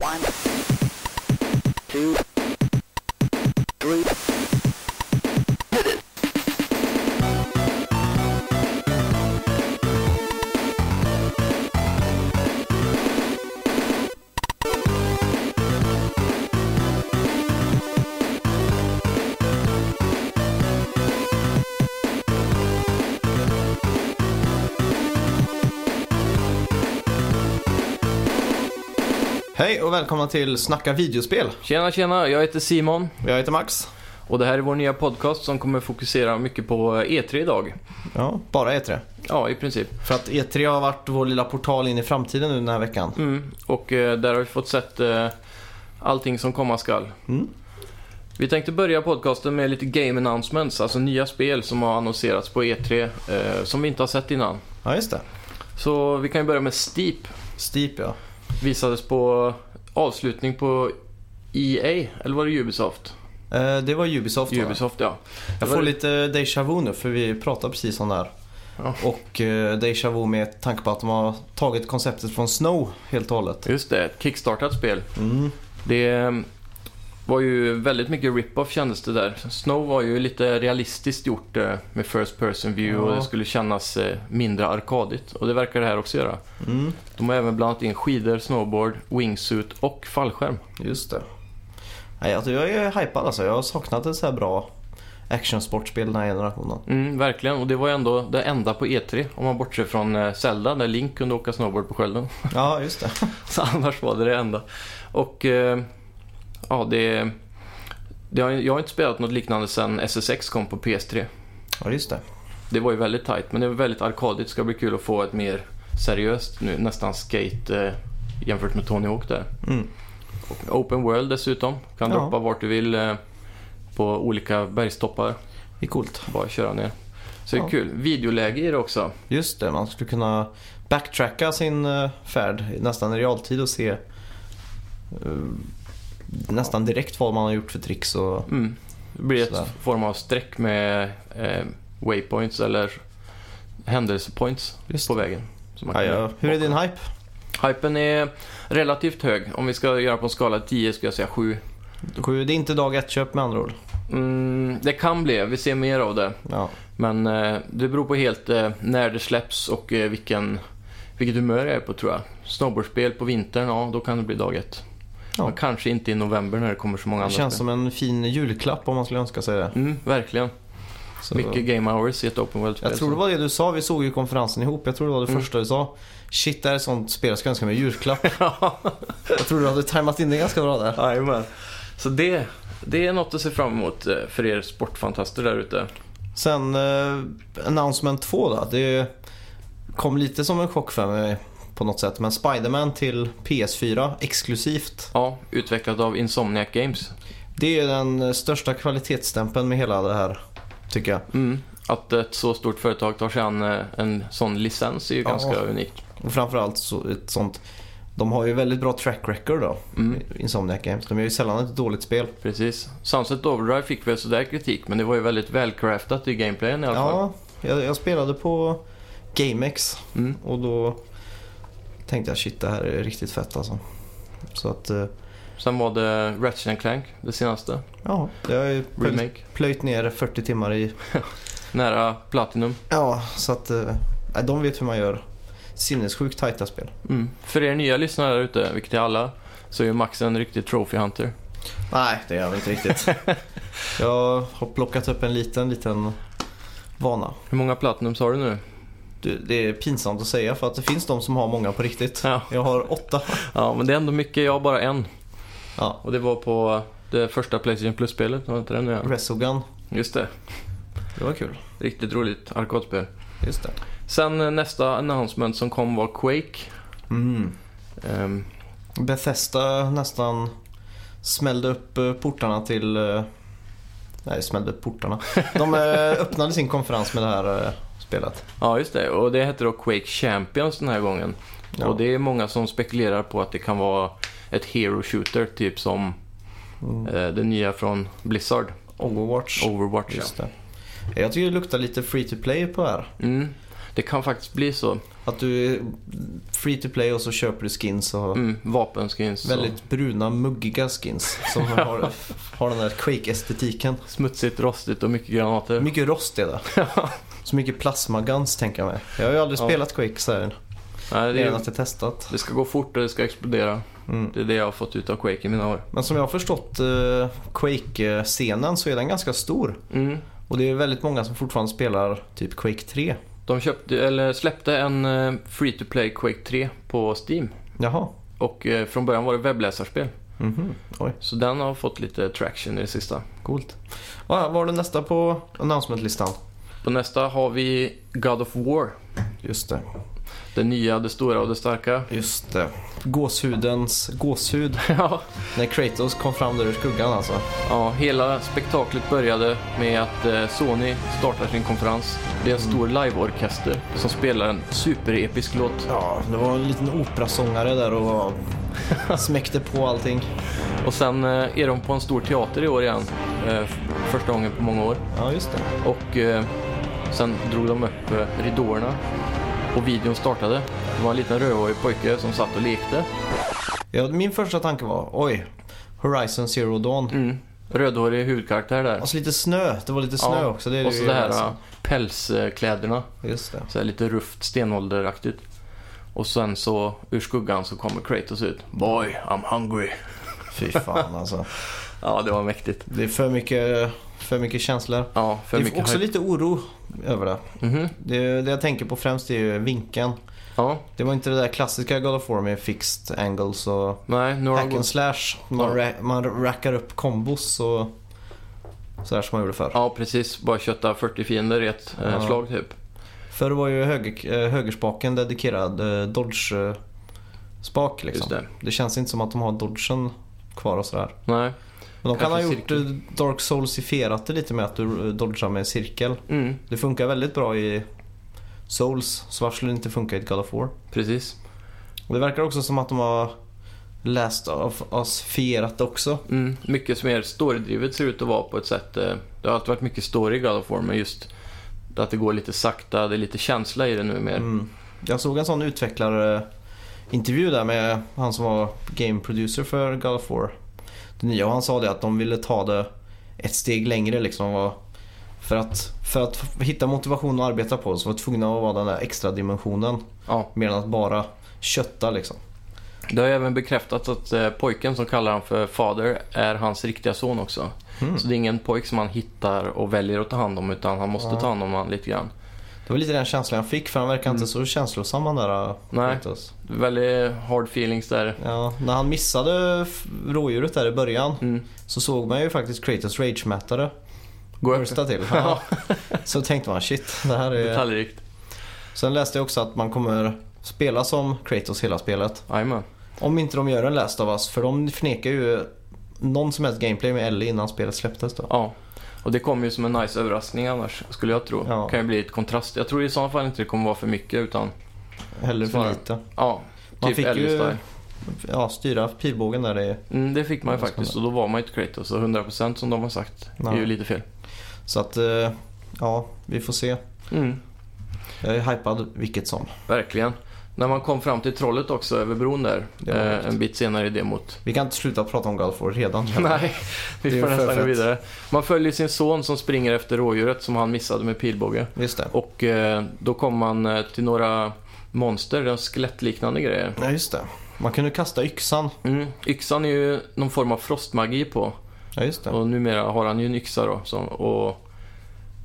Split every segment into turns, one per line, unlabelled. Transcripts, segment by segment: One, two, three.
Hej och välkomna till Snacka videospel.
Tjena, tjena. Jag heter Simon
Jag heter Max.
och det här är vår nya podcast som kommer fokusera mycket på E3 idag.
Ja, bara E3.
Ja, i princip.
För att E3 har varit vår lilla portal in i framtiden nu den här veckan.
Mm. Och eh, där har vi fått sett eh, allting som komma skall.
Mm.
Vi tänkte börja podcasten med lite game announcements, alltså nya spel som har annonserats på E3 eh, som vi inte har sett innan.
Ja, just det.
Så vi kan ju börja med Steep.
Steep ja.
Visades på avslutning på EA, eller var det Ubisoft?
Eh, det var Ubisoft. va?
Ubisoft, ja. Det
Jag
var
får
det-
lite deja vu nu för vi pratade precis om det här.
Ja.
Och eh, deja vu med tanke på att de har tagit konceptet från Snow helt och hållet.
Just det, ett kickstartat spel.
Mm.
Det eh, var ju väldigt mycket rip-off kändes det där. Snow var ju lite realistiskt gjort eh, med first person view
Ja.
och det skulle kännas eh, mindre arkadigt. Och det verkar det här också göra.
Mm.
De har även blandat in skidor, snowboard, wingsuit och fallskärm.
Just det. Nej, alltså, jag är hypad alltså. Jag har saknat ett så här bra actionsportspel den här generationen.
Mm, verkligen, och det var ju ändå det enda på E3 om man bortser från eh, Zelda där Link kunde åka snowboard på skölden.
Ja, just det.
Så annars var det det enda. Och eh, ja, det, det har, jag har inte spelat något liknande sedan SSX kom på PS3.
Ja, just det.
Det var ju väldigt tight, men det var väldigt arkadigt. Ska bli kul att få ett mer seriöst nu, nästan skate eh, jämfört med Tony Hawk där.
Mm.
Och Open world dessutom. Kan
Ja.
droppa vart du vill eh, på olika bergstoppar.
Det är coolt.
Bara köra ner. Så det är
Ja.
kul. Videoläge i det också.
Just det, man skulle kunna backtracka sin eh, färd i- nästan i realtid och se eh, nästan direkt vad man har gjort för tricks. Och...
Mm. Det blir
Sådär.
ett form av streck med eh, waypoints eller händelsepoints
Just
på vägen. som man
Ja,
kan
ja.
göra.
Hur är din hype?
Hypen är relativt hög. Om vi ska göra på en skala 10 skulle jag säga 7.
Sju, det är inte dag ett köp med andra ord.
Mm, det kan bli, vi ser mer av det.
Ja,
Men eh, det beror på helt eh, när det släpps och eh, vilken, vilket humör jag är på tror jag. Snowboardspel på vintern, ja då kan det bli dag ett.
Ja.
Men kanske inte i november när det kommer så många
det
andra
känns
spel.
som en fin julklapp om man skulle önska sig det.
Mm, verkligen.
Så...
Mycket game hours i ett open world-spel.
Jag tror det var det du sa, vi såg ju konferensen ihop. Jag tror det var det
Mm.
första du sa. Shit, det här är ett sånt spel jag ska önska mig i julklapp.
Ja,
jag tror du hade tajmat in det ganska bra där.
jajamän. Så det, det är något att se fram emot eh, för er sportfantaster där ute.
Sen eh, Announcement 2 då. Det kom lite som en chock för mig på något sätt. Men Spider-Man till PS4 exklusivt.
Ja, utvecklat av Insomniac Games.
Det är den eh, största kvalitetsstämpeln med hela det här. Tycker jag.
Mm. Att ett så stort företag tar sig an eh, en sån licens är ju
Ja.
ganska unikt.
Och framförallt så, ett sånt. De har ju väldigt bra track record då.
Mm.
Insomniac Games. De är ju sällan ett dåligt spel.
Precis. Sunset Overdrive fick väl sådär kritik, men det var ju väldigt välcraftat i gameplayen i alla fall.
Ja, jag, jag spelade på GameX
Mm.
och då tänkte jag shit det här är riktigt fett alltså. Så att eh,
Sen var det Ratchet and Clank, det senaste.
ja, jag har ju plöjt-
Remake.
plöjt ner 40 timmar i
Nära Platinum.
Ja, så att eh, nej, de vet hur man gör sinnessjukt tajta spel.
Mm. För er nya lyssnare där ute, vilket är alla, så är ju Max en riktig trophy hunter.
Nej, det gör jag väl inte riktigt. jag har plockat upp en liten, liten vana.
Hur många Platinums har du nu?
Du, Det är pinsamt att säga för att det finns de som har många på riktigt.
Ja.
Jag har åtta.
Ja, men det är ändå mycket. Jag har bara en.
Ja.
Och det var på det första Playstation Plus-spelet. Var inte det nu? ja?
Resogun,
Just det.
det var kul.
Riktigt roligt arkadspel.
Just det.
Sen eh, nästa announcement som kom var Quake.
Mm.
Ehm,
Bethesda nästan smällde upp eh, portarna till... eh, Nej, smällde upp portarna. De eh, öppnade sin konferens med det här eh, spelet.
Ja, just det. Och det heter då Quake Champions den här gången.
Ja.
Och det är många som spekulerar på att det kan vara ett Hero Shooter, typ som
Mm.
eh, det nya från Blizzard.
Overwatch.
Overwatch, ja.
Just det. Jag tycker det luktar lite free to play på det här.
Mm. Det kan faktiskt bli så.
Att du är free to play och så köper du skins och
Mm, vapenskins och
väldigt bruna muggiga skins som har, har den där Quake-estetiken.
smutsigt, rostigt och mycket granater.
Mycket rost är det. Så mycket plasmaguns tänker jag mig. Jag har ju aldrig
Ja.
spelat Quake så här.
Nej,
Det är
det,
att jag testat.
det ska gå fort och det ska explodera.
Mm.
Det är det jag har fått ut av Quake i mina år.
Men som jag har förstått eh, Quake-scenen så är den ganska stor.
Mm.
Och det är väldigt många som fortfarande spelar typ Quake 3.
De köpte, eller släppte en free to play Quake 3 på Steam.
Jaha.
Och eh, från början var det webbläsarspel.
Mhm. Oj,
Så den har fått lite traction i det sista.
coolt. Vad vad var det nästa på announcement-listan?
På nästa har vi God of War.
Just det.
Det nya, det stora och det starka.
Just det. Gåshudens gåshud.
ja.
När Kratos kom fram där ur skuggan alltså.
ja, hela spektaklet började med att eh, Sony startar sin konferens. Det är en stor
Mm.
liveorkester som spelar en superepisk låt.
Ja, det var en liten operasångare där och smäckte på allting.
Och sen eh, är de på en stor teater i år igen. Eh, f- första gången på många år.
Ja, just det.
Och eh, sen drog de upp eh, ridåerna och videon startade. Det var en liten rödhårig pojke som satt och lekte.
Ja, min första tanke var, oj, Horizon Zero Dawn.
Mm. Rödhårig huvudkaraktär där.
Alltså lite snö, det var lite snö
Ja,
också. Det är
och så
ju alltså-
det
Horizon.
här eh, pälskläderna.
Just det.
Så här lite rufft stenålderaktigt. Och sen så ur skuggan så kommer Kratos ut. Boy, I'm hungry.
Fy fan alltså.
Ja, det var mäktigt.
Det är för mycket, för mycket känslor.
Ja, för
det är
mycket
också
hype.
lite oro över det.
Mhm.
det. Det jag tänker på främst är ju vinkeln.
Ja,
Det var inte det där klassiska God of War med fixed angles och
nej, nu har
hack
de
and
gått...
slash. Man,
Ja.
ra- man rackar upp kombos och sådär som man gjorde förr.
Ja, precis. Bara kötta 40 fiender i ett eh,
Ja.
slag typ.
Förr var ju höger, eh, högerspaken dedikerad eh, dodge-spak liksom.
Just det.
Det känns inte som att de har dodgen kvar och sådär.
Nej.
Men de kan ha
Kanske
gjort
cirkel.
eh, Dark Soulsifierat det lite med att du eh, dodgar med cirkel.
Mm.
Det funkar väldigt bra i Souls, så varför skulle det inte funka i ett God of War?
Precis.
Och det verkar också som att de har läst of us-fierat det också.
Mm, mycket mer storydrivet ser det ut att vara på ett sätt. eh, Det har alltid varit mycket story i God of War, men just att det går lite sakta, det är lite känsla i det nu mer.
Mm. Jag såg en sån utvecklare-intervju där med han som var game producer för God of War. Det nya och han sa det att de ville ta det ett steg längre liksom. var- För att, för att hitta motivation att arbeta på så var de tvungna att vara den där extra dimensionen.
Ja,
Mer än att bara kötta liksom.
det har även bekräftats att eh, pojken som kallar han för fader är hans riktiga son också.
Mm.
Så det är ingen pojk som han hittar och väljer att ta hand om, utan han måste
Ja.
ta hand om han lite grann.
Det var lite den känslan jag fick för han verkar
Mm.
inte så känslosam han där. äh,
Nej.
Kratos.
Väldigt hard feelings där.
Ja, när han missade f- rådjuret där i början
Mm.
så såg man ju faktiskt Kratos rage-mätare
Gå upp.
bursta till. Ja. så tänkte man shit, det här är...
Detaljrikt.
Sen läste jag också att man kommer spela som Kratos hela spelet.
Jajamän.
Om inte de gör en Last of Us, för de förnekar ju någon som helst gameplay med Ellie innan spelet släpptes då.
Ja. Och det kommer ju som en nice överraskning annars, skulle jag tro.
Ja.
Kan ju bli ett kontrast. Jag tror i sådana fall inte det kommer vara för mycket, utan
Hellre för
Svarar.
lite.
ja.
Man
Typ
fick ju-
Ellie-style.
Ja, styra pilbågen där det är...
Mm, det fick man ju
Vad ska
faktiskt och då var man ju inte Kratos. Och 100% som de har sagt
Nej.
är ju lite fel.
Så att, eh, ja, vi får se.
Mm,
Jag är hypad vilket som.
verkligen. När man kom fram till trollet också över bron där.
Det var
Eh,
häftigt.
en bit senare i demot.
Vi kan inte sluta prata om God of War redan.
Nej,
Det är
vi
ju
får
för
nästan gå
fett.
vidare. Man följer sin son som springer efter rådjuret som han missade med pilbåge.
Just det.
Och eh, då kommer man eh, till några monster, de skelettliknande grejer.
Ja, just det. Man kunde kasta yxan.
Mm. Yxan är ju någon form av frostmagi på.
Ja, just det.
Och numera har han ju en yxa då. Som, och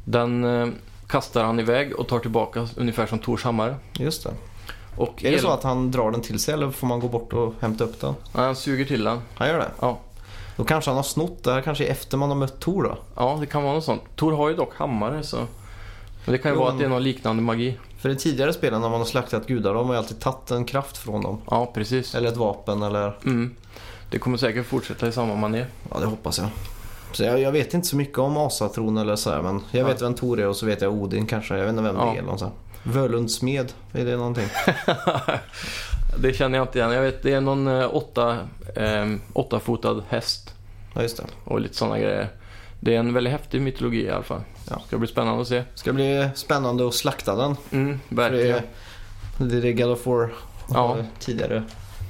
den eh, kastar han iväg och tar tillbaka ungefär som Tors hammare.
Just det.
Och
Är det
el-
så att han drar den till sig eller får man gå bort och hämta upp den?
Nej, han suger till den.
Han gör det?
Ja.
Då kanske han har snott det här kanske är efter man har mött Tor då.
ja, det kan vara något sånt. Tor har ju dock hammare så. Men det kan ju
Jo,
vara
men-
att det är någon liknande magi.
För i tidigare spelen när man har slaktat gudar då har man ju alltid tagit en kraft från dem.
Ja, precis.
Eller ett vapen eller...
Mm. Det kommer säkert fortsätta i samma manér.
Ja, det hoppas jag. Så jag, jag vet inte så mycket om asatron eller så här, men jag vet vem Tor är och så vet jag Odin kanske. Jag vet inte vem
Ja.
det är. eller något så här. Völunds smed, är det någonting?
det känner jag inte igen. Jag vet, det är någon eh, åtta, eh, åttafotad häst
Ja, just det.
och lite sådana grejer. Det är en väldigt häftig mytologi i alla fall.
Ja.
Ska bli spännande att se.
Ska bli spännande att slakta den.
Mm,
För det,
verkligen.
är- det är det God of War
Ja.
eh, tidigare.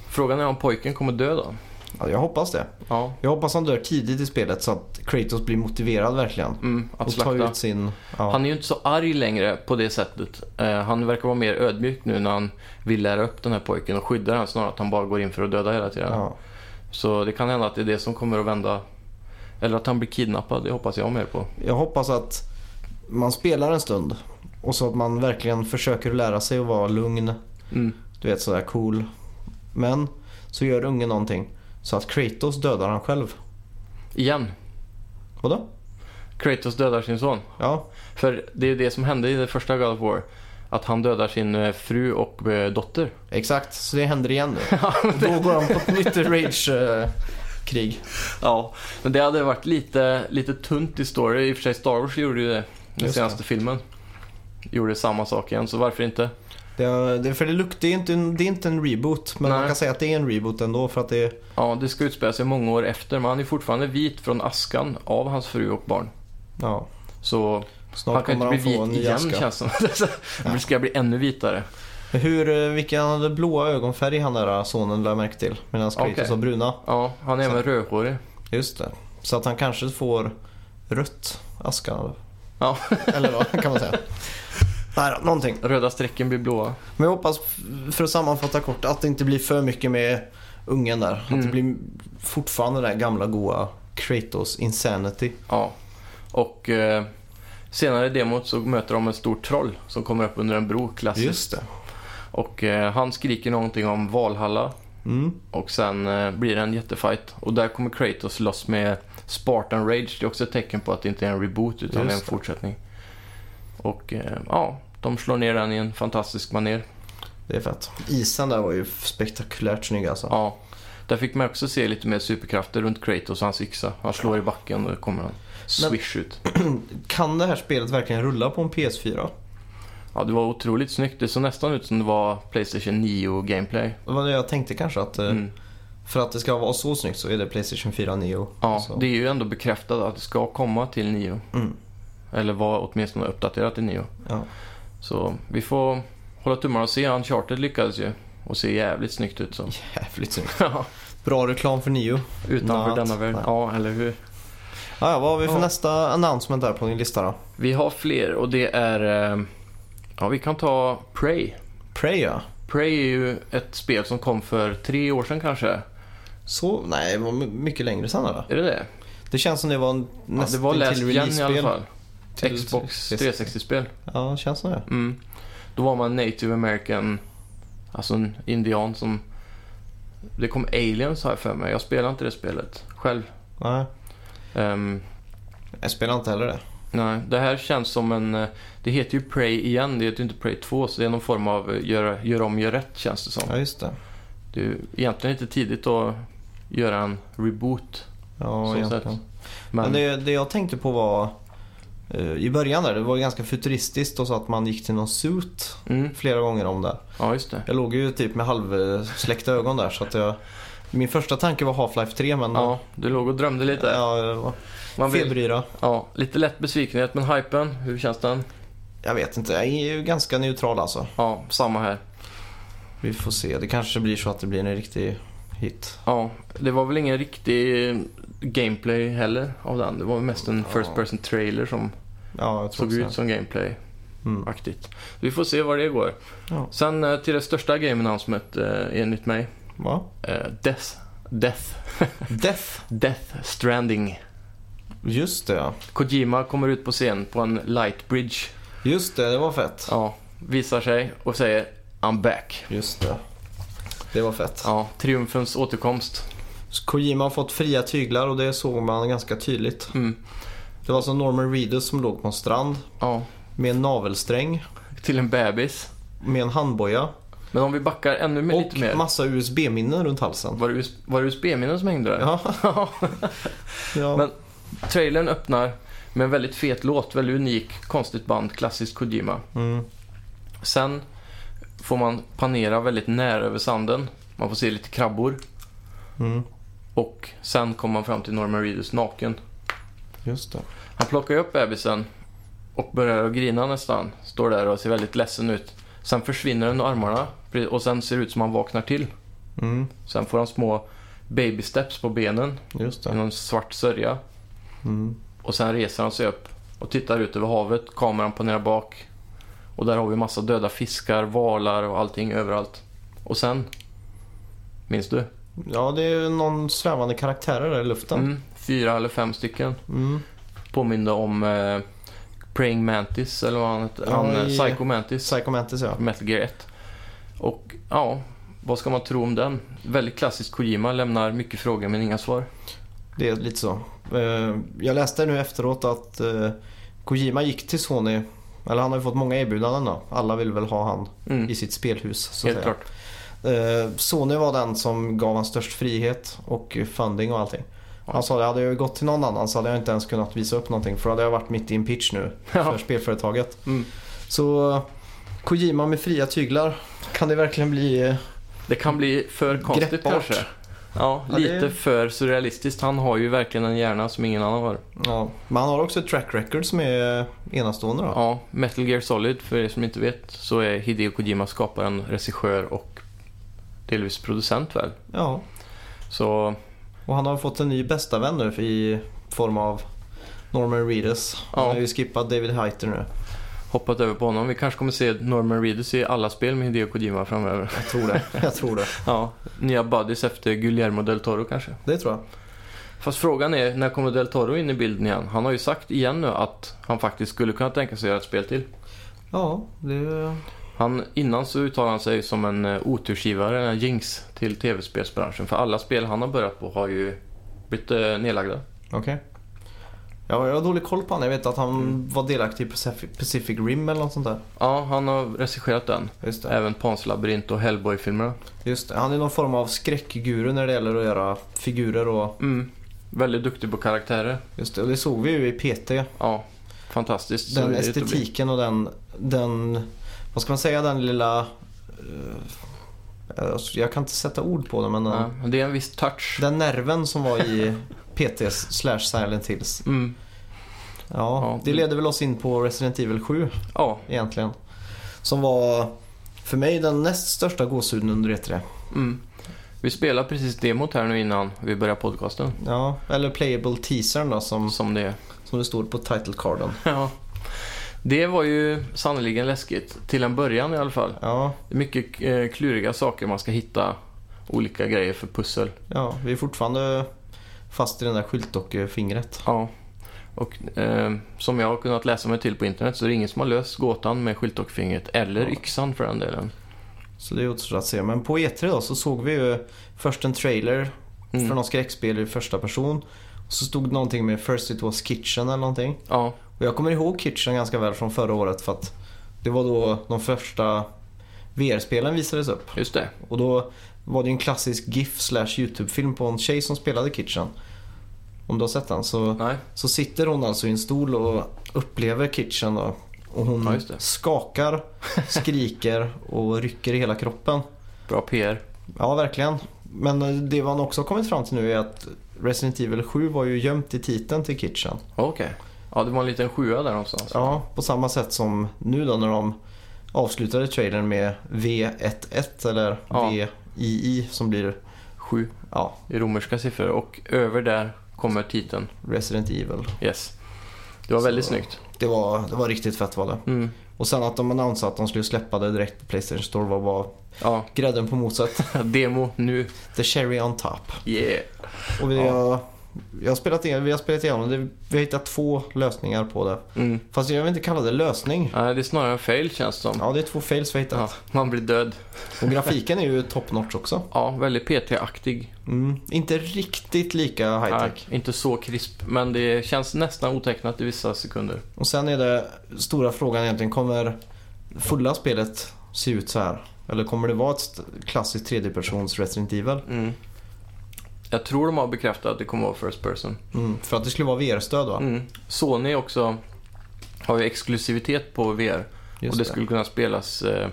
Frågan är om pojken kommer dö då?
Ja, jag hoppas det.
Ja,
Jag hoppas han dör tidigt i spelet så att Kratos blir motiverad verkligen.
mm, att
Och tar
slakta.
ut sin... Ja,
Han är ju inte så arg längre på det sättet. Eh, han verkar vara mer ödmjuk nu när han vill lära upp den här pojken och skydda den snarare att han bara går in för att döda hela tiden.
ja.
Så det kan hända att det är det som kommer att vända. Eller att han blir kidnappad, det hoppas jag mer på.
Jag hoppas att man spelar en stund och så att man verkligen försöker lära sig att vara lugn.
Mm.
Du vet sådär cool. Men så gör ungen någonting så att Kratos dödar han själv.
Igen,
Vadå?
Kratos dödar sin son.
Ja,
För det är ju det som hände i det första God of War. Att han dödar sin eh, fru och eh, dotter.
exakt. Så det händer igen nu. Och då går han på ett nytt eh, rage-krig.
Ja, men det hade varit lite, lite tunt i story. I och för sig Star Wars gjorde ju det. Den
Just
senaste filmen. Gjorde samma sak igen, så varför inte?
Det, är- det, för det, luktar, det, är inte en, det är inte en reboot, men
Nej.
man kan säga att det är en reboot ändå för att det är...
Ja, det ska utspela sig många år efter. Men han är fortfarande vit från askan av hans fru och barn.
Ja,
Så
snart
han kan
kommer
inte
han
bli
få en
vit
ny
igen
aska.
känns som. det ska bli ännu vitare.
Hur, eh, vilken han hade blåa ögonfärg han där eh, sonen lade märke till. Medan Kratos
Okej.
har bruna.
Ja, han är även rödhårig.
Just det. Så att han kanske får rött aska.
Ja.
Eller vad kan man säga. Nej, då, någonting.
Röda strecken blir blåa.
Men jag hoppas, f- för att sammanfatta kort, att det inte blir för mycket med ungen där. Att det
Mm.
blir fortfarande den där gamla goa Kratos Insanity.
Ja. Och eh, senare i demot så möter de en stor troll som kommer upp under en bro, klassiskt.
Just det.
Och eh, han skriker någonting om Valhalla.
Mm.
Och sen eh, blir det en jättefight. Och där kommer Kratos loss med Spartan Rage. Det är också ett tecken på att det inte är en reboot utan
Just
en
det.
fortsättning. Och eh, ja, de slår ner den i en fantastisk maner.
Det är fett. Isen där var ju spektakulärt snygg alltså.
Ja. Där fick man också se lite mer superkrafter runt Kratos och hans yxa. Han slår i backen och då kommer han swish ut.
Kan det här spelet verkligen rulla på en PS4?
Ja, det var otroligt snyggt. Det såg nästan ut som det var Playstation 9 gameplay.
Det var det jag tänkte kanske att eh,
Mm.
för att det ska vara så snyggt så är det Playstation 4 Neo.
Ja,
så.
det är ju ändå bekräftat att det ska komma till 9.
Alltså. Mm.
Eller var åtminstone uppdaterat till 9.
Ja.
Så vi får hålla tummarna och se. Uncharted lyckades ju och ser jävligt snyggt ut. Så.
Jävligt snyggt.
Ja,
Bra reklam för Neo.
Utanför
Natt.
denna värld.
Nej.
Ja, eller hur?
Ja, ja, vad har vi för
Ja.
nästa announcement där på din lista då?
Vi har fler och det är... eh, Ja, vi kan ta Prey.
Prey ja.
Prey är ju ett spel som kom för tre år sedan kanske.
Så, nej, det var my- mycket längre sedan eller?
Är det det?
Det känns som det var en-
Ja, det
nästan
var Last
till
Gen i alla
release-spel.
fall.
Till-
Xbox
till-
360-spel.
Ja, det känns som det.
Mm. Då var man native american, alltså en indian som... Det kom aliens har jag för mig. Jag spelade inte det spelet själv.
Nej,
Ehm,
jag spelar inte heller det.
nej, det här känns som en... eh, Det heter ju Prey igen, det heter ju inte Prey 2. Så det är någon form av eh, gör, gör om, gör rätt känns det som.
Ja, just det.
Det är ju egentligen inte tidigt att göra en reboot.
Ja,
Så
egentligen.
Men,
Men det, det jag tänkte på var eh, i början där, det var ganska futuristiskt och så att man gick till någon suit
mm,
flera gånger om där.
ja, just det.
Jag låg ju typ med halvsläckta ögon där så att jag... Min första tanke var Half-Life 3 men...
Ja, du låg och drömde lite.
Ja, jag var
Man vill,
feberyra.
ja, lite lätt besvikenhet, men hypen, hur känns den?
Jag vet inte, jag är ju ganska neutral alltså.
Ja, samma här.
Vi får se, det kanske blir så att det blir en riktig hit.
Ja, det var väl ingen riktig eh, gameplay heller av den. Det var väl mest en
Ja.
first person trailer som
Ja, jag tror
såg
också
ut
det.
som gameplay-aktigt.
Mm.
Vi får se var det går.
Ja.
Sen eh, till det största game announcement eh, enligt mig.
Va?
Eh, Death. Death.
Death.
Death Stranding.
Just det ja.
Kojima kommer ut på scen på en light bridge.
Just det, det var fett.
Ja, visar sig och säger I'm back.
Just det. Det var fett.
Ja, triumfens återkomst.
Kojima har fått fria tyglar och det såg man ganska tydligt.
Mm.
Det var som Norman Reedus som låg på en strand
Ja,
med en navelsträng,
till en bebis.
med en handboja
Men om vi backar ännu mer, lite
och
mer.
massa USB-minnen runt halsen.
Var det, US- var det USB-minnen som hängde där?
Ja, ja.
Men- Trailern öppnar med en väldigt fet låt, väldigt unik, konstigt band, klassiskt Kojima.
Mm.
Sen får man panera väldigt nära över sanden. Man får se lite krabbor
Mm.
och sen kommer man fram till Norman Reedus naken.
Just det.
Han plockar ju upp bebisen och börjar att grina nästan. Står där och ser väldigt ledsen ut. Sen försvinner den ur armarna pre- och sen ser det ut som han vaknar till.
Mm,
Sen får han små baby steps på benen
just
i
det.
någon svart sörja.
Mm.
Och sen reser han sig upp och tittar ut över havet. Kameran planerar bak. Och där har vi massa döda fiskar, valar och allting överallt. Och sen, minns du?
Ja, det är ju någon svävande karaktärer där i luften. Mm.
Mm, fyra eller fem stycken. Påminner om eh, Praying Mantis eller vad han heter.
Ja,
han, eh,
i-
Psycho Mantis.
Psycho Mantis, ja.
Metal Gear 1. Och ja, vad ska man tro om den? Väldigt klassisk Kojima, lämnar mycket frågor men inga svar.
Det är lite så. Eh, Jag läste nu efteråt att eh, Kojima gick till Sony. Eller han har ju fått många erbjudanden då. Alla vill väl ha han
Mm,
i sitt spelhus så att
helt
säga.
klart.
Eh, Sony var den som gav han störst frihet och funding och allting. Han sa det, hade jag gått till någon annan så hade jag inte ens kunnat visa upp någonting för då hade jag varit mitt i en pitch nu för
Ja,
spelföretaget.
Mm.
Så eh, Kojima med fria tyglar. Kan det verkligen bli... eh,
det kan bli för konstigt
Greppbart.
kanske. Ja,
Ja, det-
lite för surrealistiskt. Han har ju verkligen en hjärna som ingen annan har.
Ja. Men han har också ett track record som är enastående då.
Ja, Metal Gear Solid, för er som inte vet, så är Hideo Kojima skaparen, regissör och delvis producent väl.
ja.
Så
Och han har fått en ny bästa vän nu i form av Norman Reedus. Han
Ja.
har ju skippat David Heiter nu.
hoppat över på honom. Vi kanske kommer se Norman Reedus i alla spel med Hideo Kojima framöver.
Jag tror det. Jag tror det.
Ja, nya buddies efter Guillermo del Toro kanske.
Det tror jag.
Fast frågan är, när kommer del Toro in i bilden igen? Han har ju sagt igen nu att han faktiskt skulle kunna tänka sig att göra ett spel till.
Ja, det...
Han, innan så uttalade han sig som en eh, otursgivare, en jinx, till tv-spelsbranschen. För alla spel han har börjat på har ju blivit eh, nedlagda.
Okej. Ja, jag har dålig koll på honom. Jag vet att han
Mm.
var delaktig i Pacific- Pacific Rim eller något sånt där.
Ja, han har regisserat den.
Just det.
Även Pans labyrint och Hellboy-filmerna.
Just det. Han är någon form av skräckguru när det gäller att göra figurer och...
Mm. Väldigt duktig på karaktärer.
Just det, och det såg vi ju i PT.
Ja, fantastiskt. Så
Den
är det att bli.
estetiken och den, den, vad ska man säga, den lilla... eh, alltså, jag kan inte sätta ord på det men den,
Ja, det är en viss touch.
den nerven som var i PTs slash Silent Hills.
Mm.
Ja,
Ja,
det
det-
leder väl oss in på Resident Evil 7
Ja,
egentligen. Som var för mig den näst största gåshuden under E E3.
mm. Vi spelar precis demot här nu innan vi börjar podcasten.
Ja, eller Playable Teasern då som,
Som det är.
som det står på title carden.
Ja. Det var ju sannerligen läskigt. Till en början i alla fall.
Ja,
Det är mycket eh, kluriga saker man ska hitta. Olika grejer för pussel.
ja, vi är fortfarande fast i den där skyltdockefingret.
Ja. Och eh, som jag har kunnat läsa mig till på internet så är det ingen som har löst gåtan med skyltdockfingret. Eller
Ja.
yxan för den delen.
Så det är återstår att se. Men på E3 då så såg vi ju först en trailer
Mm.
för något skräckspel i första person. Och så stod det någonting med First It Was Kitchen eller någonting.
Ja,
Och jag kommer ihåg Kitchen ganska väl från förra året för att det var då de första VR-spelen visades upp.
just det.
Och då var det ju en klassisk GIF slash YouTube-film på en tjej som spelade Kitchen. Om du har sett den så,
Nej.
så sitter hon alltså i en stol och upplever Kitchen då. Och hon
Ja, just det.
skakar, skriker och rycker i hela kroppen.
Bra PR.
Ja, verkligen. Men det man också har kommit fram till nu är att Resident Evil 7 var ju gömt i titeln till Kitchen.
Okej. Ja, det var en liten sjua där någonstans.
Ja, på samma sätt som nu då när de avslutade trailern med V11 eller
Ja.
VII som blir
Sju
ja,
i romerska siffror och över där kommer titeln.
Resident Evil.
Yes. Det var
Så-
väldigt snyggt.
Det var, det var riktigt fett var det.
Mm.
Och sen att de annonsade att de skulle släppa det direkt på Playstation Store var bara
Ja,
grädden på moset.
demo nu.
The cherry on top.
Yeah.
Och vi,
Ja.
har, jag har spelat, igen- vi har spelat igenom det. Vi har hittat två lösningar på det.
Mm.
Fast jag vill inte kalla det lösning.
Nej, det är snarare en fail känns det som.
Ja, det är två fails vi har hittat.
Ja, man blir död.
Och grafiken är ju top notch också.
Ja, väldigt PT-aktig.
Mm. Inte riktigt lika high tech.
Nej, inte så krisp, men det känns nästan otecknat i vissa sekunder.
Och sen är det stora frågan egentligen. Kommer fulla spelet se ut så här? Eller kommer det vara ett st- klassiskt tredjepersons Resident Evil?
Mm. Jag tror de har bekräftat att det kommer vara First Person.
Mm. För att det skulle vara VR-stöd va?
Mm. Sony också har ju exklusivitet på VR.
Just
och det
det.
skulle kunna spelas eh,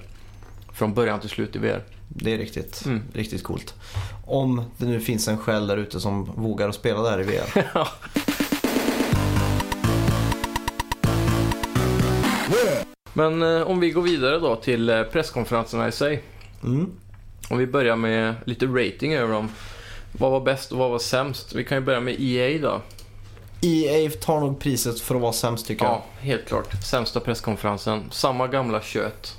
från början till slut i VR.
det är riktigt,
Mm.
riktigt coolt. Om det nu finns en själ där ute som vågar att spela det här i VR.
Men eh, om vi går vidare då till eh, presskonferenserna i sig.
Mm.
Om vi börjar med lite rating över dem. Vad var bäst och vad var sämst? Vi kan ju börja med EA då.
EA E tar nog priset för att vara sämst tycker jag.
Ja, helt klart. Sämsta presskonferensen. Samma gamla kött.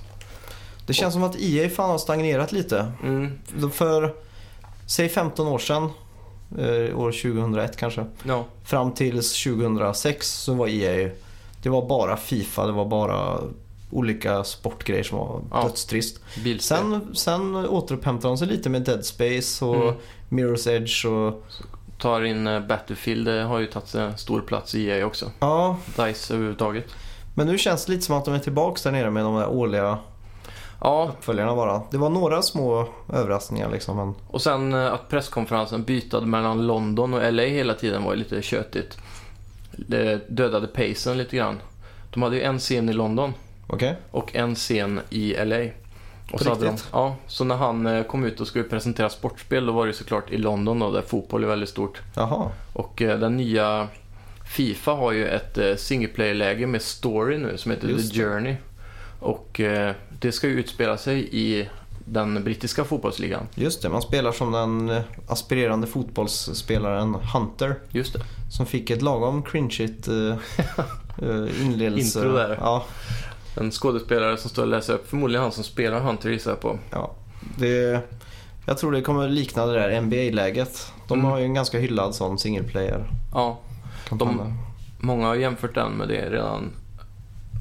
Det känns som att EA fan har stagnerat lite.
Mm,
För, säg 15 år sedan, eh, år 2001 kanske,
ja.
fram till 2006 så var EA, det var bara Fifa, det var bara olika sportgrejer som var
Ja.
dödstrist.
Bilspel.
Sen, sen återupphämtade de sig lite med Dead Space och
Mm.
Mirror's Edge och
Tar in eh, Battlefield, det har ju tagit en stor plats i EA också.
ja.
DICE överhuvudtaget.
Men nu känns det lite som att de är tillbaks där nere med de där årliga
Ja,
uppföljarna bara. Det var några små överraskningar liksom. Men,
och sen eh, att presskonferensen bytade mellan London och LA hela tiden var ju lite tjötigt. Det dödade pacen lite grann. De hade ju en scen i London
okej.
och en scen i LA.
På
Och så, hade de,
riktigt?
ja, så när han eh, kom ut och skulle presentera sportspel då var det ju såklart i London då, där fotboll är väldigt stort.
Jaha.
Och eh, den nya Fifa har ju ett eh, single player-läge med story nu som heter
Just
The
det.
Journey. Och eh, det ska ju utspela sig i den brittiska fotbollsligan.
Just det, man spelar som den eh, aspirerande fotbollsspelaren Hunter.
Just det.
Som fick ett lagom cringeigt eh, eh, inledelse.
Intro där.
Ja,
En skådespelare som står och läser upp, förmodligen han som spelar Hunter gissar jag på.
ja. Det, jag tror det kommer likna det där NBA-läget. De
Mm.
har ju en ganska hyllad sån single player. eh,
Ja,
kampanj
De-
där.
många har jämfört den med det redan.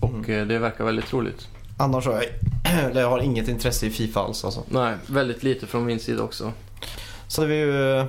Och eh, det verkar väldigt troligt.
Annars har jag, eller jag har inget intresse i Fifa alls alltså.
Nej, väldigt lite från min sida också.
Så hade vi ju eh,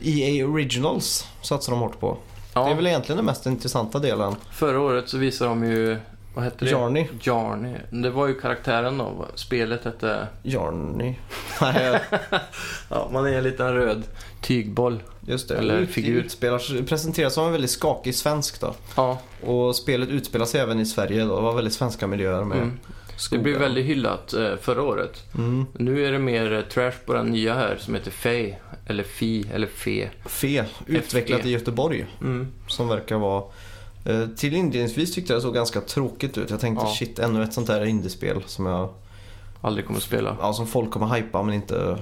EA Originals satsar de hårt på.
Ja,
Det är väl egentligen den mest intressanta delen.
Förra året så visade de ju, vad hette det?
Journey.
Jarny. Det var ju karaktären då. Spelet hette...
Journey.
Eh,
Nej,
Ja, man är en liten röd tygboll.
just det.
Eller
Ut-
figur.
Utspelar, presenteras som en väldigt skakig svensk då.
Ja,
Och spelet utspelar sig även i Sverige då. Det var väldigt svenska miljöer med
mm. Det
skogar.
blev väldigt hyllat eh, förra året.
Mm.
Nu är det mer eh, trash på den nya här som heter Fey. Eller Fi, eller Fe.
Fe,
E.
utvecklat
FE.
i Göteborg.
Mm.
Som verkar vara... eh, Till inledningsvis tyckte jag det såg ganska tråkigt ut. Jag tänkte
Ja.
shit, ännu ett sånt här indiespel som, jag,
Aldrig kommer att spela.
ja, som folk kommer hypa men inte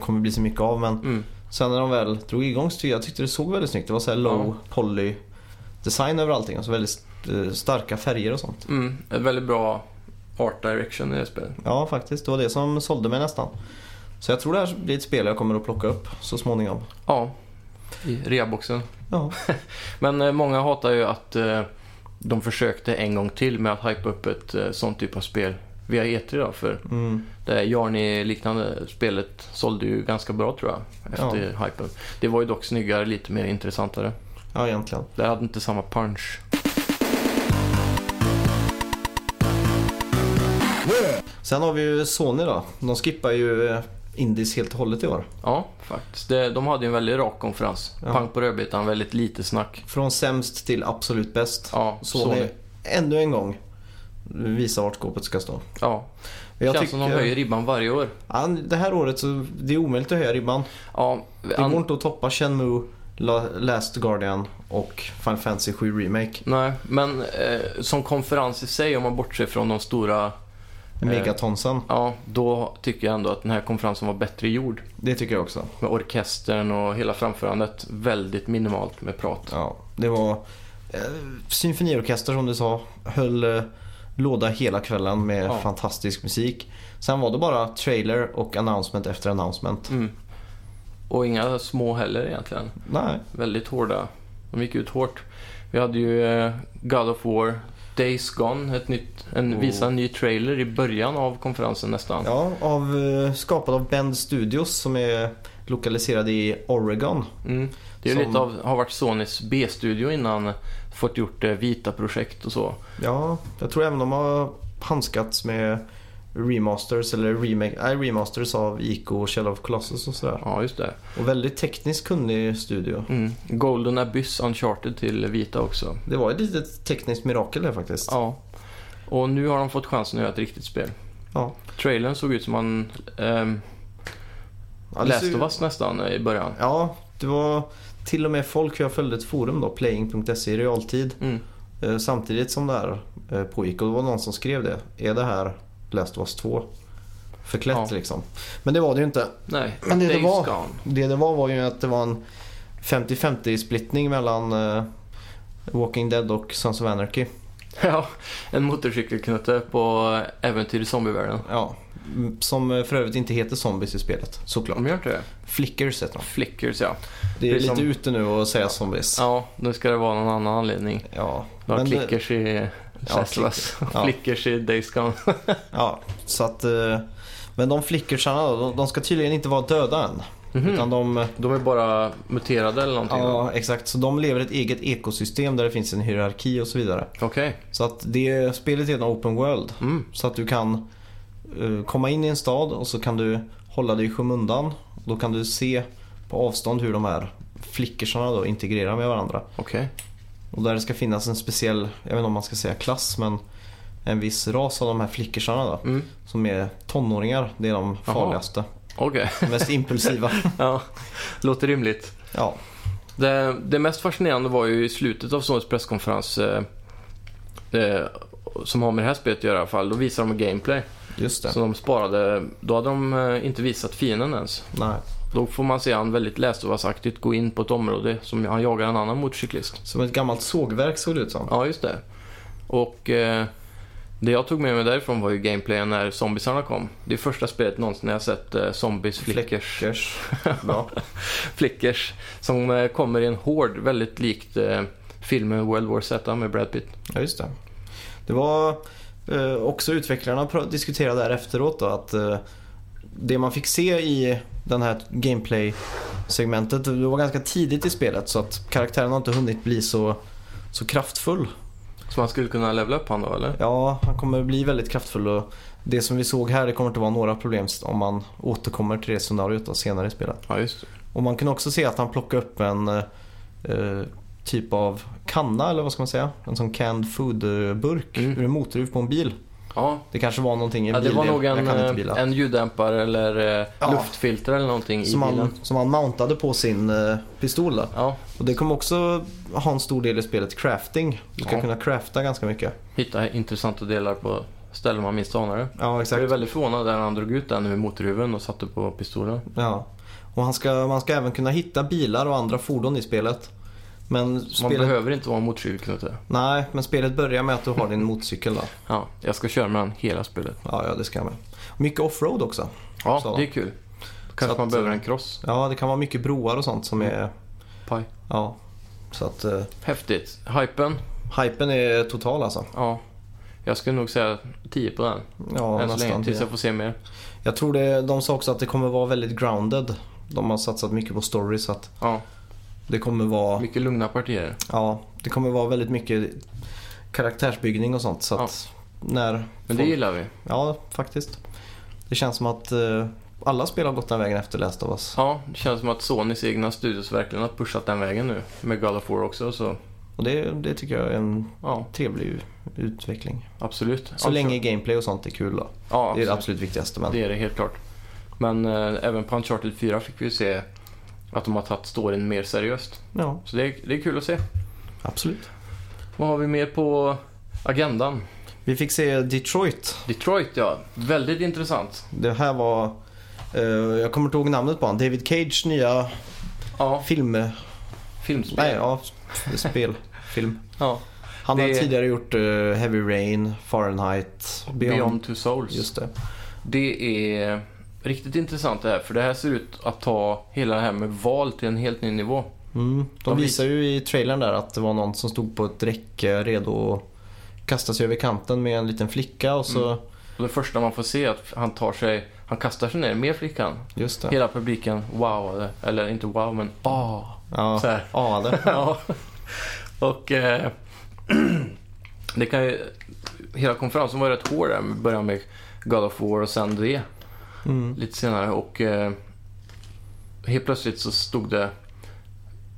kommer bli så mycket av. Men
Mm.
Sen när de väl drog igång så tyckte jag tyckte det såg väldigt snyggt. Det var så här low poly design över allting. Alltså väldigt eh, starka färger och sånt.
Mm. Ett väldigt bra art direction i det spelet.
Ja faktiskt, det var det som sålde mig nästan. Så jag tror det här blir ett spel jag kommer att plocka upp så småningom.
Ja, i reaboxen.
Ja,
Men eh, många hatar ju att eh, de försökte en gång till med att hypa upp ett eh, sånt typ av spel via E3 då, för
mm.
Det här Jarny-liknande spelet sålde ju ganska bra tror jag efter hypen. Det var ju dock snyggare, lite mer intressantare.
ja egentligen.
Det hade inte samma punch.
Sen har vi ju Sony då. De skippar ju eh, Indies helt och hållet i år.
Ja, faktiskt. Det, de hade ju en väldigt rak konferens.
Ja.
Pang på rödbetan, väldigt lite snack.
Från sämst till absolut bäst.
Ja,
Sony,
Sony.
ännu en gång visar vart skåpet ska stå.
Ja.
Jag
Känns som de höjer ribban varje år.
Ja, det här året så det är omöjligt att höja ribban.
Ja,
Det
an-
går inte att toppa Shenmue, La- Last Guardian och Final Fantasy 7 Remake.
Nej, men eh, som konferens i sig, om man bortser från de stora, Eh.
Megatonsen.
ja, då tycker jag ändå att den här konferensen var bättre gjord.
Det tycker jag också.
Med orkestern och hela framförandet, väldigt minimalt med prat.
Ja, det var eh, symfoniorkester som du sa. Höll eh, låda hela kvällen med
Ja.
fantastisk musik. Sen var det bara trailer och announcement efter announcement.
Mm. Och inga små heller egentligen.
Nej,
Väldigt hårda. De gick ut hårt. Vi hade ju eh, God of War, Days Gone, ett nytt, en,
Oh.
visa en ny trailer i början av konferensen nästan.
ja, av, eh, skapad av Bend Studios som är lokaliserad i Oregon.
Mm. Det är ju
Som-
lite av, har varit Sonys B-studio innan, fått gjort eh, vita projekt och så.
Ja, jag tror även de har handskats med remasters eller remake, nej, remasters av IK och Shell of Colossus och sådär.
Ja, just det.
Och väldigt tekniskt kunnig studio.
Mm. Golden Abyss Uncharted till vita också.
Det var ett litet tekniskt mirakel där faktiskt.
Ja. Och nu har de fått chansen att göra ett riktigt spel.
Ja.
Trailern såg ut som man ehm,
Ja, det ser
läste
ju-
vass nästan eh, i början.
Ja, det var till och med folk jag följde ett forum då, playing.se i realtid.
Mm.
Eh, Samtidigt som det här eh, pågick. Och det var någon som skrev det. Är det här Last of Us 2? Förklätt
Ja.
liksom. Men det var det ju inte.
Nej,
Men det det
Days
var-
Gone.
Det det var var ju att det var en 50-50 splittning mellan eh, Walking Dead och Sons of Anarchy.
Ja, en motorcykelknutte på Äventyr i zombievärlden.
Ja. Mm, Som eh, för övrigt inte heter Zombies i spelet såklart.
De gör inte det.
Flickers heter de.
Flickers ja.
Det är
Mm. Precis
lite ute
som-
nu att säga Zombies.
Ja, nu ska det vara någon annan anledning.
Ja.
De har
Men det-
klickers i
Ja,
Sessless
Ja.
flickers i Days Gone.
Ja, så att... eh, Men de flickersarna då, de- de ska tydligen inte vara döda än.
Mhm.
Utan de...
De är bara muterade eller någonting? då?
Ja, exakt. Så de lever i ett eget ekosystem där det finns en hierarki och så vidare.
Okej.
Så att det spelet är en open world.
Mm.
Så att du kan eh, komma in i en stad och så kan du hålla dig i skymundan. Då kan du se på avstånd hur de här flickersarna då integrerar med varandra.
Okej.
Och där det ska finnas en speciell, jag vet inte om man ska säga klass, men en viss ras av de här flickersarna då.
Mm.
Som är tonåringar. Det är de
Jaha.
farligaste.
Okej.
De mest impulsiva.
ja, låter rimligt.
Ja,
Det, det mest fascinerande var ju i slutet av Sonys presskonferens eh, eh, som har med det här spelet att göra i alla fall. Då visar de gameplay.
just det.
Så de sparade, då hade de eh, inte visat fienden ens.
Nej.
Då får man se han väldigt läsovasaktigt gå in på ett område som han jagar en annan motorcyklist.
Som ett gammalt sågverk såg det ut som.
Ja, just det. Och eh, det jag tog med mig därifrån var ju gameplayen när zombiesarna kom. Det är första spelet någonsin jag har sett eh, zombies, flickers,
Flickers. Bra.
flickers som eh, kommer i en hård, väldigt likt eh, filmen World War Z med Brad Pitt.
Ja, just det. Det var eh, också utvecklarna pra- diskuterade där efteråt då att eh, det man fick se i den här gameplay-segmentet, det var ganska tidigt i spelet så att karaktären har inte hunnit bli så, så kraftfull.
Så man skulle kunna levla upp han då eller?
Ja, han kommer bli väldigt kraftfull och det som vi såg här det kommer inte vara några problem om man återkommer till det scenariot då, senare i spelet.
Ja, just det.
Och man kan också se att han plockar upp en eh, eh, typ av kanna eller vad ska man säga? En sån canned food-burk
Mm.
ur en motorhuv på en bil.
Ja.
Det kanske var någonting i en
Ja, det
bil.
var nog
jag
en,
kan inte
eh,
bilar.
en ljuddämpare eller eh,
Ja.
luftfilter eller någonting
Som
i bilen.
han, som han mountade på sin eh, pistol. Då.
Ja,
Och det kommer också ha en stor del i spelet crafting. Du ska
Ja.
kunna crafta ganska mycket.
hitta intressanta delar på ställen man minst anar det.
Ja,
Jag
exakt.
blev väldigt förvånad när han drog ut den ur motorhuven och satte på pistolen.
Ja. Och han ska, man ska även kunna hitta bilar och andra fordon i spelet. Men
Man
spelet,
behöver inte vara en motorcykelknutte.
nej, men spelet börjar med att du har din motorcykel. Då.
Ja, jag ska köra med den hela spelet.
Ja, ja, det ska jag med. Mycket offroad också.
Ja,
Så.
det är kul.
Så
Kanske
att,
man behöver
eh,
en cross.
Ja, det kan vara mycket broar och sånt
Mm.
som är...
Paj.
Ja. Så att eh,
Häftigt. Hypen?
hypen är total alltså.
Ja. Jag skulle nog säga 10 på den.
Ja,
Än så länge,
nästan.
tills jag får se mer.
Jag tror det, de sa också att det kommer vara väldigt grounded. De har satsat mycket på story så att
Ja,
det kommer vara,
mycket lugna partier.
ja, det kommer vara väldigt mycket karaktärsbyggning och sånt. Så att när
Men det
folk-
gillar vi.
Ja, faktiskt. Det känns som att eh, alla spel har gått den vägen efter Last of Us.
Ja, det känns som att Sonys egna studios verkligen har pushat den vägen nu. Med God of War också, så
Och det, det tycker jag är en
ja,
trevlig utveckling.
absolut. Alltså-
Så länge gameplay och sånt är kul då.
Ja,
Det är det
absolut.
absolut viktigaste. Men...
Det är det helt klart. Men eh, även på Uncharted 4 fick vi ju se att de har tagit storyn mer seriöst.
Ja,
Så det är, det är kul att se.
absolut.
Vad har vi mer på agendan?
Vi fick se Detroit
Detroit ja, väldigt intressant.
Det här var, eh, jag kommer inte ihåg namnet på han, David Cage nya
Ja,
film,
filmspel.
nej ja, spel, film.
Ja.
Han har
Det-
tidigare gjort eh, Heavy Rain, Fahrenheit,
Beyond, Two Souls.
Just det.
Det är riktigt intressant det här för det här ser ut att ta hela det här med val till en helt ny nivå.
Mm. De
De vis-
visar ju i trailern där att det var någon som stod på ett räcke redo att kasta sig över kanten med en liten flicka och så,
Och det första man får se är att han tar sig, han kastar sig ner med flickan.
just det.
Hela publiken wow, eller inte wow men ah.
Ja,
Så här.
ja det.
ja. Och eh, det kan ju, hela konferensen var ju rätt hård där. med- Början med God of War och sen det
Mm.
lite senare. Och eh, helt plötsligt så stod det